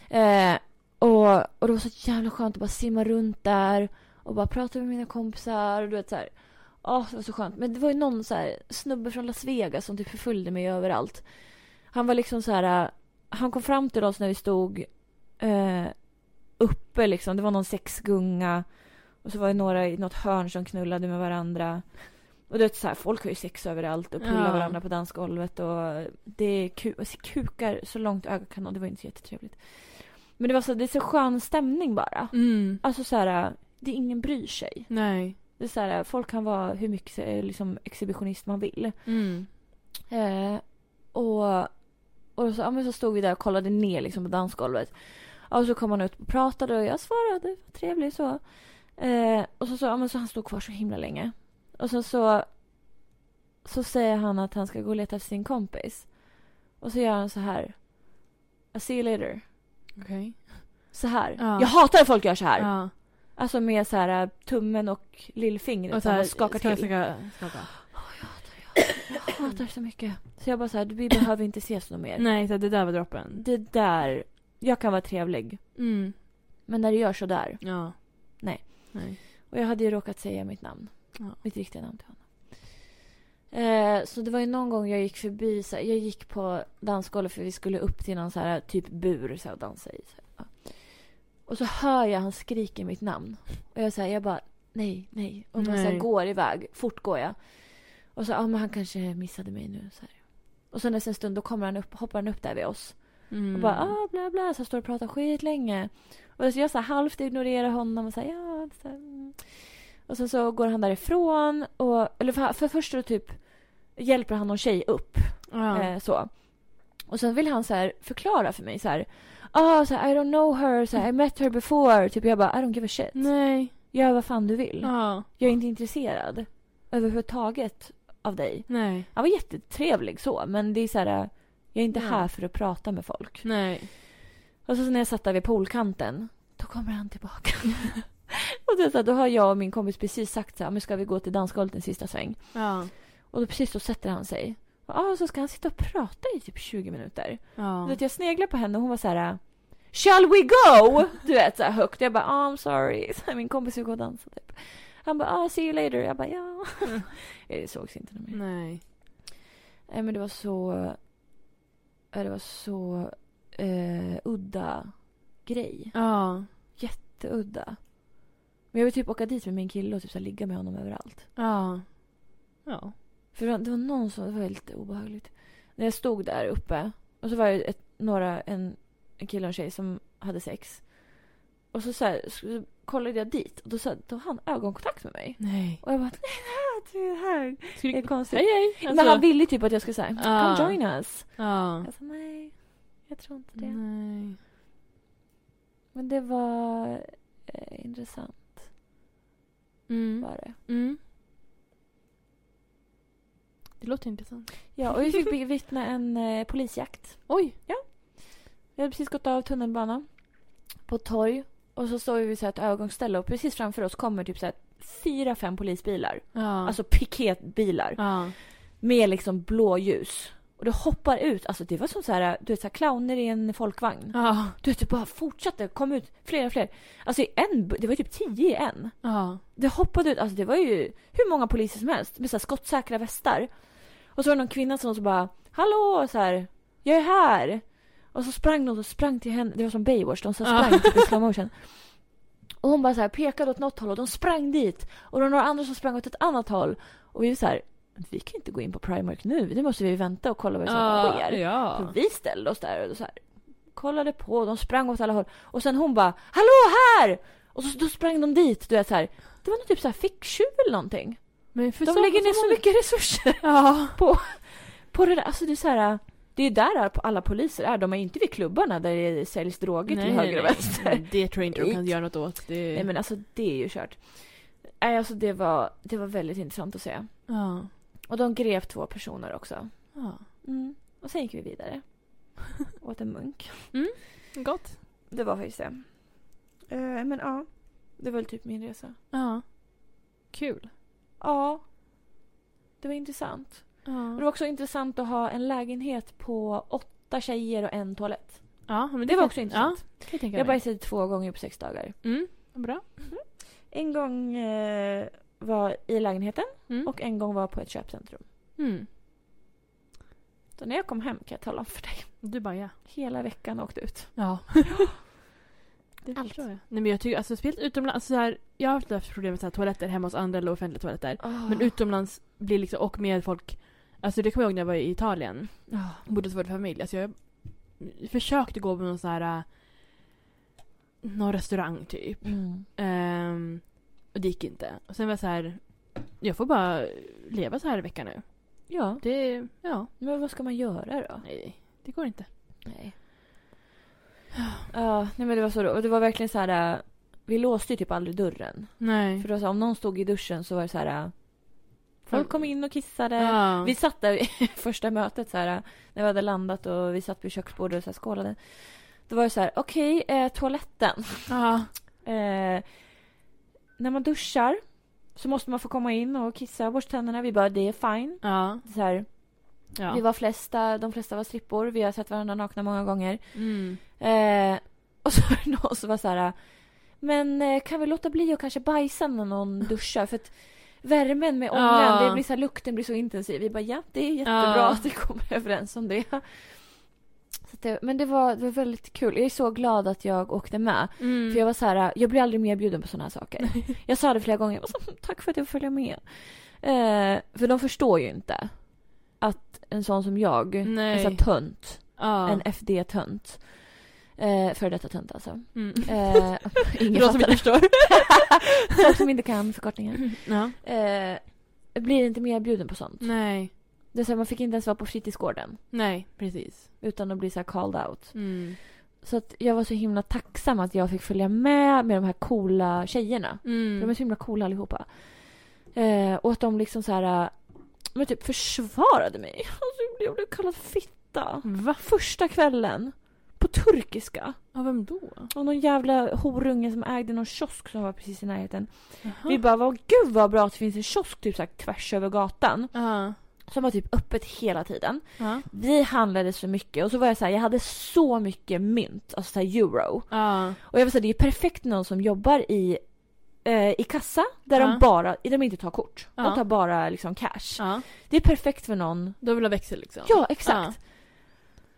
S1: Eh, och, och det var så jävla skönt att bara simma runt där och bara prata med mina kompisar. Och du vet så här. Åh, det var så skönt. Men det var ju någon så här, snubbe från Las Vegas som typ förföljde mig överallt. Han var liksom så här. eh, Han kom fram till oss när vi stod eh, uppe liksom. Det var någon sexgunga. Och så var det några i något hörn som knullade med varandra. Och du vet så här, folk har ju sex överallt och pullar
S4: Ja.
S1: varandra på dansgolvet och det är ku- alltså, kukar så långt ögat kan nå. Det var inte så jättetrevligt. Men det var så, det är så skön stämning bara.
S4: Mm.
S1: Alltså så här, det är ingen bryr sig.
S4: Nej.
S1: Det är så här, folk kan vara hur mycket eh, liksom, exhibitionist man vill.
S4: Mm.
S1: Eh, och och så, ja, men så stod vi där och kollade ner liksom, på dansgolvet. Ja, och så kom han ut och pratade och jag svarade. Vad trevlig så. Eh, och så sa ja, men så han stod kvar så himla länge. Och sen så, så säger han att han ska gå och leta efter sin kompis. Och så gör han så här. I see you later.
S2: Okej.
S1: Så här.
S2: Ja.
S1: Jag hatar när folk gör så här.
S2: Ja.
S1: Alltså med så här eh, tummen och lillfingret.
S2: Och så
S1: så
S2: här,
S1: man skakar
S2: ska
S1: till.
S2: jag Skaka, skaka.
S1: Jag hatar så mycket. Så jag bara så här,
S2: [CLEARS THROAT]
S1: vi behöver inte ses något mer.
S2: Nej, så här, det där var droppen.
S1: Eh. Det där, jag kan vara trevlig.
S2: Mm.
S1: Men när du gör så där.
S2: Ja.
S1: Nej.
S2: Nej.
S1: Och jag hade ju råkat säga mitt namn.
S2: Ja.
S1: Mitt riktiga namn till honom. Eh, så det var ju någon gång jag gick förbi, så här, jag gick på dansgolvet för vi skulle upp till någon så här typ bur så här, och dansa i. Så här, ja. Och så hör jag han skriker mitt namn. Och jag säger, jag bara nej, nej. Och man så här,
S2: Nej.
S1: går iväg, fort går jag. Och så, ja ah, men han kanske missade mig nu. Så här. Och sen efter en stund då kommer han upp, hoppar han upp där vid oss.
S2: Mm.
S1: Och bara ah, bla bla, så står och pratar skitlänge. Och så jag så här, halvt ignorerar honom och säger ja. Så här, mm. Och sen så går han därifrån. Och, eller för, för först så typ hjälper han någon tjej upp.
S2: Ja.
S1: Eh, så. Och sen vill han så här förklara för mig så här. Ah, så här, I don't know her, så här, I met her before. Typ jag bara I don't give a shit.
S2: Nej.
S1: Gör vad fan du vill.
S2: Ja.
S1: Jag är inte intresserad överhuvudtaget av dig.
S2: Nej.
S1: Han var jättetrevlig så men det är så här. Jag är inte
S2: Ja.
S1: här för att prata med folk.
S2: Nej.
S1: Och så när jag satt där vid poolkanten, då kommer han
S2: [LAUGHS]
S1: tillbaka. och det, är så här, då har jag och min kompis precis sagt så här, men ska vi gå till dansgolvet en sista sväng?
S2: Ja.
S1: Och då precis så sätter han sig. Och, ah, så ska han sitta och prata i typ 20 minuter.
S2: Ja.
S1: Så att jag sneglar på henne och hon var så här, Shall we go? Du vet så här högt. Jag bara, ah, I'm sorry. [LAUGHS] Så här, min kompis vill gå och dansa typ. Han bara, ah, see you later. Jag bara, ja. [LAUGHS] Det sågs inte mer.
S2: Mm. Nej.
S1: Nej men det var så... ja, Det var så eh, udda grej.
S2: Ja.
S1: Jätteudda. Men jag vill typ åka dit med min kille och typ så här ligga med honom överallt.
S2: Ja. Ja.
S1: För det var- det var någon som, det var väldigt obehagligt. När jag stod där uppe och så var det ett, några, en, en kille och en tjej som hade sex. Och så, så, här, så kollade jag dit och då, så här, då hade han ögonkontakt med mig.
S2: Nej.
S1: Och jag bara, nej det här, det här
S2: Skulle...
S1: är konstigt.
S2: Hej hej.
S1: Men han ville typ att jag skulle säga,
S2: Alltså- Ah.
S1: come join us.
S2: Ja.
S1: Jag sa, nej, jag tror inte det.
S2: Mm. Nej.
S1: Men det var eh, intressant
S2: Mm.
S1: var det.
S2: Mm. Det låter intressant.
S1: Ja, och vi fick bevittna en eh, polisjakt.
S2: Oj.
S1: Vi hade precis gått av tunnelbanan på ett torg. Och så står vi vid så här ett övergångsställe och precis framför oss kommer typ så här fyra, fem polisbilar.
S2: Ja.
S1: Alltså piketbilar.
S2: Ja.
S1: Med liksom blåljus. Och det hoppar ut. Alltså det var som så här, du vet så här clowner i en folkvagn.
S2: Ja.
S1: Du vet, det bara fortsatte. Kom ut fler och fler. Alltså i en, bu- det var typ tio i en.
S2: Ja.
S1: Det hoppade ut, alltså det var ju hur många poliser som helst med så här skottsäkra västar. Och så var det någon kvinna som så bara Hallå! Så här, jag är här! Och så sprang de och sprang till henne, det var som Baywatch, de så här
S2: Ja.
S1: sprang
S2: [LAUGHS]
S1: typ i slow motion. Och hon bara så här pekade åt något håll och de sprang dit. Och det var några andra som sprang åt ett annat håll. Och vi var så här, vi kan inte gå in på Primark nu, nu måste vi vänta och kolla vad som sker. Så
S2: Ja.
S1: vi ställde oss där och så här, kollade på, de sprang åt alla håll. Och sen hon bara “Hallå här!” Och så, då sprang de dit, du vet så här. Det var nog typ så här ficktjuv eller någonting.
S2: Men för
S1: De
S2: så-
S1: lägger ner så
S2: många-
S1: mycket resurser
S2: Ja.
S1: [LAUGHS] på det där. Alltså det är så här, det är där alla poliser är. De är inte vid klubbarna där det säljs droger till höger och vänster. Nej.
S2: Mm, Det tror jag inte de kan göra något åt. Det...
S1: men alltså det är ju kört. Nej alltså det var, det var väldigt intressant att se.
S2: Ja.
S1: Och de grep två personer också.
S2: ja.
S1: Mm. Och sen gick vi [LAUGHS] vidare. Åt en munk.
S2: Gott.
S1: Det var faktiskt det. Eh, men ja. Det var väl typ min resa.
S2: Ja. Kul.
S1: Ja. Det var intressant. Det
S2: Ja.
S1: var också intressant att ha en lägenhet på åtta tjejer och en toalett.
S2: Ja, men det,
S1: Det var
S2: kan-
S1: också intressant.
S2: Ja, kan jag tänka
S1: Jag
S2: mig.
S1: bajsade två gånger på sex dagar.
S2: Mm. Bra.
S1: En gång eh, var i lägenheten
S2: Mm.
S1: och en gång var på ett köpcentrum.
S2: Mm.
S1: Så när jag kom hem kan jag tala om för dig.
S2: Du bara ja.
S1: Hela veckan åkte ut.
S2: Ja. [LAUGHS] Det
S1: Allt.
S2: förstår jag. Nej men jag tycker, alltså speciellt utomlands, alltså, så här, jag har haft haft problem med så här, toaletter hemma hos andra eller offentliga toaletter.
S1: Ah.
S2: Men utomlands blir liksom, och med folk, alltså det kommer jag ihåg när jag var i Italien,
S1: Ja.
S2: bodde hos vår familj. Alltså jag försökte gå på någon sån här, äh, någon restaurang typ.
S1: Mm.
S2: Ehm, och det gick inte. Och sen var jag så här, jag får bara leva så här i veckan nu.
S1: ja,
S2: Det, ja,
S1: men vad ska man göra då?
S2: nej, det går inte.
S1: Nej. Ja, nej men det var så Och det var verkligen så här. äh, Vi låste ju typ aldrig dörren.
S4: Nej.
S1: För då, så, om någon stod i duschen så var det så här. äh, Folk kom in och kissade.
S4: Ja.
S1: Vi satt där i [LAUGHS] första mötet så här, äh, när vi hade landat och vi satt vid köksbordet och så här, skålade. Då var det så här, okej, eh, toaletten.
S4: Ja.
S1: Eh, när man duschar så måste man få komma in och kissa och borsta tänderna. Vi bara, det är fine.
S4: Ja.
S1: Så här, Vi
S4: ja.
S1: var flesta, de flesta var strippor. Vi har sett varandra nakna många gånger.
S4: Mm.
S1: Eh, och så var det någon som var så här. Men eh, kan vi låta bli att kanske bajsa
S4: [LAUGHS]
S1: när någon duschar? För att värmen med ångan,
S4: Ja.
S1: det blir så här, lukten blir så intensiv. Vi bara ja, det är jättebra
S4: Ja.
S1: att vi kommer överens om det. Så att det men det var, det var väldigt kul. Jag är så glad att jag åkte med.
S4: Mm.
S1: För jag var så här, jag blir aldrig mer bjuden på sådana här
S4: [LAUGHS]
S1: saker. Jag sa det flera gånger, jag var så, "Mm, tack för att jag får följa med. Eh, för de förstår ju inte att en sån som jag, en
S4: Nej.
S1: sån här tönt,
S4: ja.
S1: en FD-tönt, eh, före detta tönt alltså.
S4: Mm.
S1: Eh, ingen
S4: För de som
S1: fattar
S4: inte
S1: det.
S4: förstår.
S1: [LAUGHS] Folk som inte kan förkortningar.
S4: [LAUGHS] ja.
S1: Eh, blir inte mer bjuden på sånt.
S4: Nej.
S1: Det är så här, man fick inte ens vara på fritidsgården
S4: Nej, precis.
S1: utan att bli så här called out.
S4: Mm.
S1: Så att jag var så himla tacksam att jag fick följa med med de här coola tjejerna.
S4: Mm.
S1: För de är så himla coola allihopa. Eh, och att de liksom så här... eh, Men typ försvarade mig. [LAUGHS] Alltså, jag blev- jag blev kallad fitta.
S4: Va?
S1: Första kvällen. På turkiska.
S4: Av vem då?
S1: Och någon jävla horunge som ägde någon kiosk som var precis i närheten.
S4: Jaha.
S1: Vi bara, vad, gud vad bra att det finns en kiosk typ så här tvärs över gatan.
S4: Ja.
S1: Som var typ öppet hela tiden.
S4: Ja.
S1: Vi handlade så mycket och så var jag så här, jag hade så mycket mynt, alltså så här euro.
S4: Ja.
S1: Och jag var så här, det är ju perfekt någon som jobbar i, eh, i kassa där
S4: Ja.
S1: de bara, de inte tar kort.
S4: Ja.
S1: De tar bara liksom cash.
S4: ja.
S1: Det är perfekt för någon.
S4: Du vill ha växel liksom?
S1: Ja, exakt.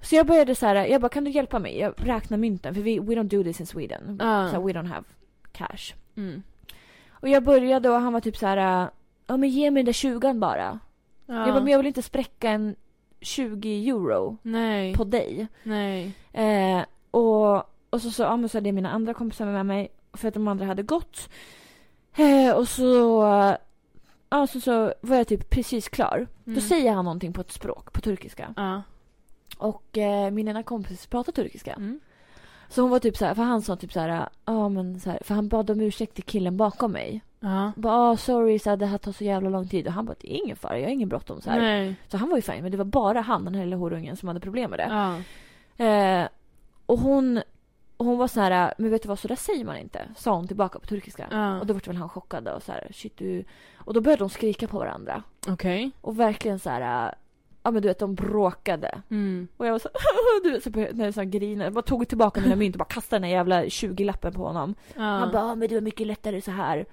S1: Så jag började så här, jag bara kan du hjälpa mig? Jag räknar mynten för vi, we don't do this in Sweden.
S4: Ja.
S1: So we don't have cash.
S4: Mm.
S1: Och jag började och han var typ så här, ja men ge mig den där tjugan bara.
S4: Ja.
S1: Jag bara, men jag vill inte spräcka en 20 euro
S4: Nej.
S1: på dig.
S4: Nej.
S1: Eh, och, och så, så, ja, men så hade jag mina andra kompisar med mig för att de andra hade gått. Eh, och så, ja, så, så var jag typ precis klar. Då
S4: Mm.
S1: säger han någonting på ett språk, på turkiska.
S4: Ja.
S1: Och eh, min ena kompis pratar turkiska.
S4: Mm.
S1: Så hon var typ så här, för han sa typ så här, ja men så här, för han bad om ursäkt till killen bakom mig.
S4: Ja.
S1: Bara, ah, sorry, så här, det här tar så jävla lång tid. Och han bara, det är ingen fara, jag har ingen bråttom. Så, här.
S4: Nej.
S1: så han var ju fin, men det var bara han, den här lilla horungen, som hade problem med det.
S4: Ja.
S1: Eh, och hon, hon var så här, men vet du vad, så där säger man inte. Sa hon tillbaka på turkiska.
S4: Ja.
S1: Och då vart väl han chockad och så här, shit du. Och då började de skrika på varandra.
S4: Okej.
S1: Och verkligen så här, ja men du vet de bråkade.
S4: Mm.
S1: Och jag var så [LAUGHS] här, du vet så började, när jag så här grinade. Jag bara tog tillbaka mina mynt och bara kastade den här jävla 20-lappen på honom.
S4: Ja.
S1: Han bara, "Ja, men det var mycket lättare så här.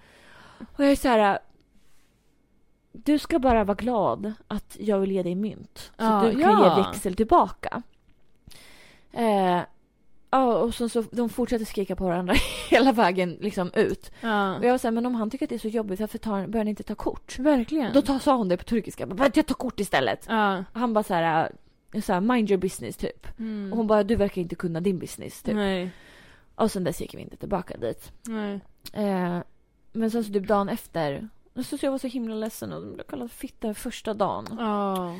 S1: Och jag är så här. äh, Du ska bara vara glad att jag vill ge dig mynt. Så
S4: Ja,
S1: att du kan
S4: ja.
S1: ge växel tillbaka. Eh, ja, och så, så de fortsätter skrika på varandra [LAUGHS] hela vägen liksom ut.
S4: Ja.
S1: Och jag var så här, men om han tycker att det är så jobbigt, varför tar, börjar ni inte ta kort?
S4: Verkligen.
S1: Då tar, sa hon det på turkiska. "Men Jag tar kort istället.
S4: ja.
S1: Och Han bara så här, eh, så här, mind your business typ.
S4: Mm.
S1: Och hon bara, du verkar inte kunna din business typ.
S4: Nej.
S1: Och sen dess gick vi inte tillbaka dit.
S4: Nej.
S1: Eh, men sen så typ dagen efter. Så, så jag var så himla ledsen och blev kallad fitta första dagen.
S4: Ja.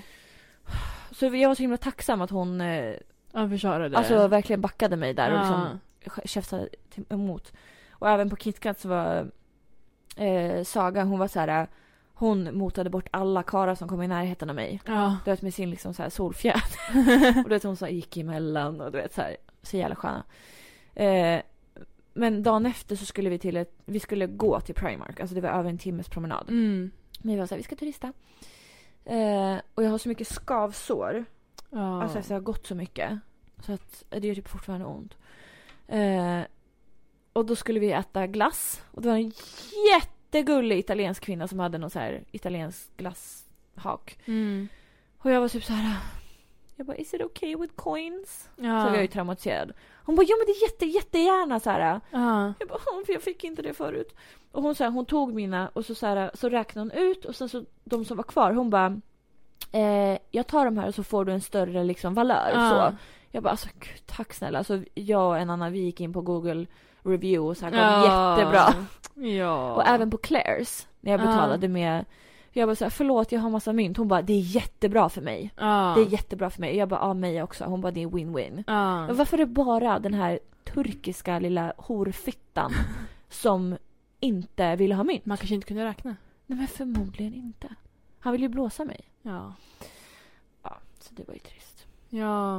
S1: Så jag var så himla tacksam att hon eh,
S4: Ja, försvarade.
S1: alltså, verkligen backade mig där och
S4: Ja.
S1: liksom käftade till- emot. Och även på KitKat så var eh, Saga, hon var så här. eh, Hon motade bort alla karlar som kom i närheten av mig.
S4: Ja.
S1: Du vet med sin liksom så
S4: [LAUGHS]
S1: här solfjäder. och du vet hon så här, gick emellan och du vet så här. Så jävla sköna. Eh, men dagen efter så skulle vi till ett, vi skulle gå till Primark. Alltså det var över en timmes promenad.
S4: Mm.
S1: Men vi var så här, vi ska turista. Eh, och jag har så mycket skavsår.
S4: Ja.
S1: Alltså efter att jag har gått så mycket. Så att det gör typ fortfarande ont. Eh, och då skulle vi äta glass. Och det var en jättegullig italiensk kvinna som hade någon så här italiensk glasshak.
S4: Mm.
S1: Och jag var typ så här. Jag bara, is it okay with coins? Så jag är
S4: Ja.
S1: ju traumatiserad. Hon bara, ja men det är jätte, jättegärna så här.
S4: Ja.
S1: Jag bara, "Ja, för jag fick inte det förut. Och hon, så här, hon tog mina och så, så, här, så räknade hon ut och sen så de som var kvar hon bara, eh, jag tar de här och så får du en större liksom valör.
S4: Ja.
S1: Så. Jag bara, alltså gud, tack snälla. Alltså jag och en annan vi gick in på Google review och så här, gav
S4: Ja.
S1: jättebra.
S4: Ja.
S1: Och även på Claire's när jag
S4: Ja.
S1: betalade med Jag bara så här, förlåt jag har massa mynt. Hon bara, det är jättebra för mig.
S2: Ja.
S1: Det är jättebra för mig. Jag bara, ja mig också. Hon bara, det är win-win.
S2: Ja.
S1: Men Varför är det bara den här turkiska lilla [LAUGHS] horfittan som inte vill ha mynt?
S2: Man kanske inte kunde räkna.
S1: Nej men förmodligen inte. Han vill ju blåsa mig.
S2: Ja.
S1: Ja, så det var ju trist.
S2: Ja.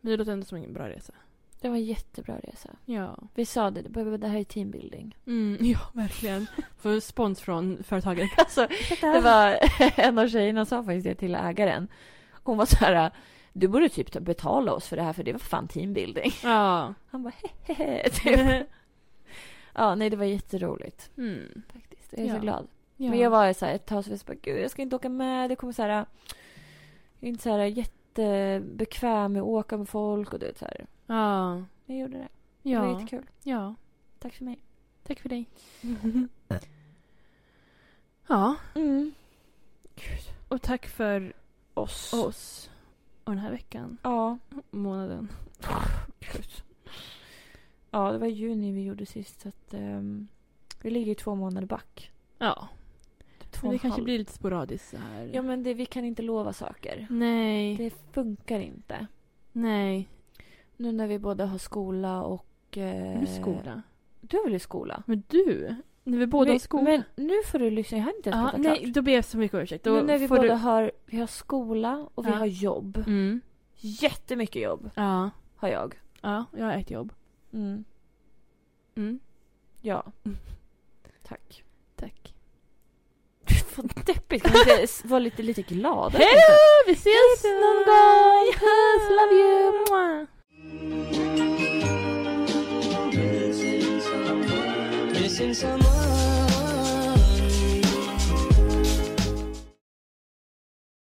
S2: Men det låter ändå som en bra resa.
S1: Det var en jättebra resa.
S2: Ja.
S1: Vi sa det, det det här är teambuilding.
S2: Mm, [LAUGHS] ja, verkligen. Får spons från [LAUGHS] företaget.
S1: [LAUGHS] Alltså, det var [LAUGHS] en av tjejerna sa faktiskt det till ägaren. Hon var så här, du borde typ ta- betala oss för det här för det var fan teambuilding.
S2: Ja.
S1: Han bara hehehe, [LAUGHS] typ. Ja, nej det var jätteroligt
S2: Mm.
S1: faktiskt. Jag är
S2: Ja.
S1: så glad.
S2: ja.
S1: Men jag var så här ett tag så var jag så bara, gud jag ska inte åka med. Det kommer så här, jag är inte så här jättebekväm med att åka med folk och du vet så här.
S2: Ja.
S1: Men jag gjorde det. Det var
S2: Ja.
S1: jättekul.
S2: ja.
S1: Tack för mig.
S2: Tack för dig. [LAUGHS] ja.
S1: Mm.
S2: Och tack för
S1: Oss.
S2: oss. Och den här veckan.
S1: Ja.
S2: Månaden.
S1: Gud. Ja, det var i juni vi gjorde sist. Så att, ehm, vi ligger ju två månader back.
S2: Ja.
S1: Typ Två
S2: Men
S1: och
S2: det
S1: en
S2: kanske
S1: halv.
S2: blir lite sporadiskt så här.
S1: Ja, men det, vi kan inte lova saker.
S2: Nej.
S1: Det funkar inte.
S2: Nej.
S1: Nu när vi båda har skola och... Eh,
S2: Med skola.
S1: Du har väl i skola?
S2: Men du. När vi båda
S1: men,
S2: har skola.
S1: Men nu får du lyssna, jag har inte ens
S2: ja,
S1: pratat
S2: nej,
S1: klart.
S2: då ber jag så mycket om ursäkt. Då
S1: nu när vi
S2: får
S1: båda
S2: du...
S1: har, vi har skola och vi
S2: Ja.
S1: har jobb.
S2: Mm.
S1: Jättemycket jobb
S2: Ja.
S1: har jag.
S2: Ja, jag har ett jobb.
S1: Mm.
S2: Mm.
S1: Ja.
S2: Mm.
S1: Tack.
S2: Tack.
S1: Vad deppigt. Kan man inte vara lite, lite glad?
S2: Hej Vi ses
S1: Hej då!
S2: någon gång! Puss, love you! Mwah.
S5: Missing someone. Missing someone.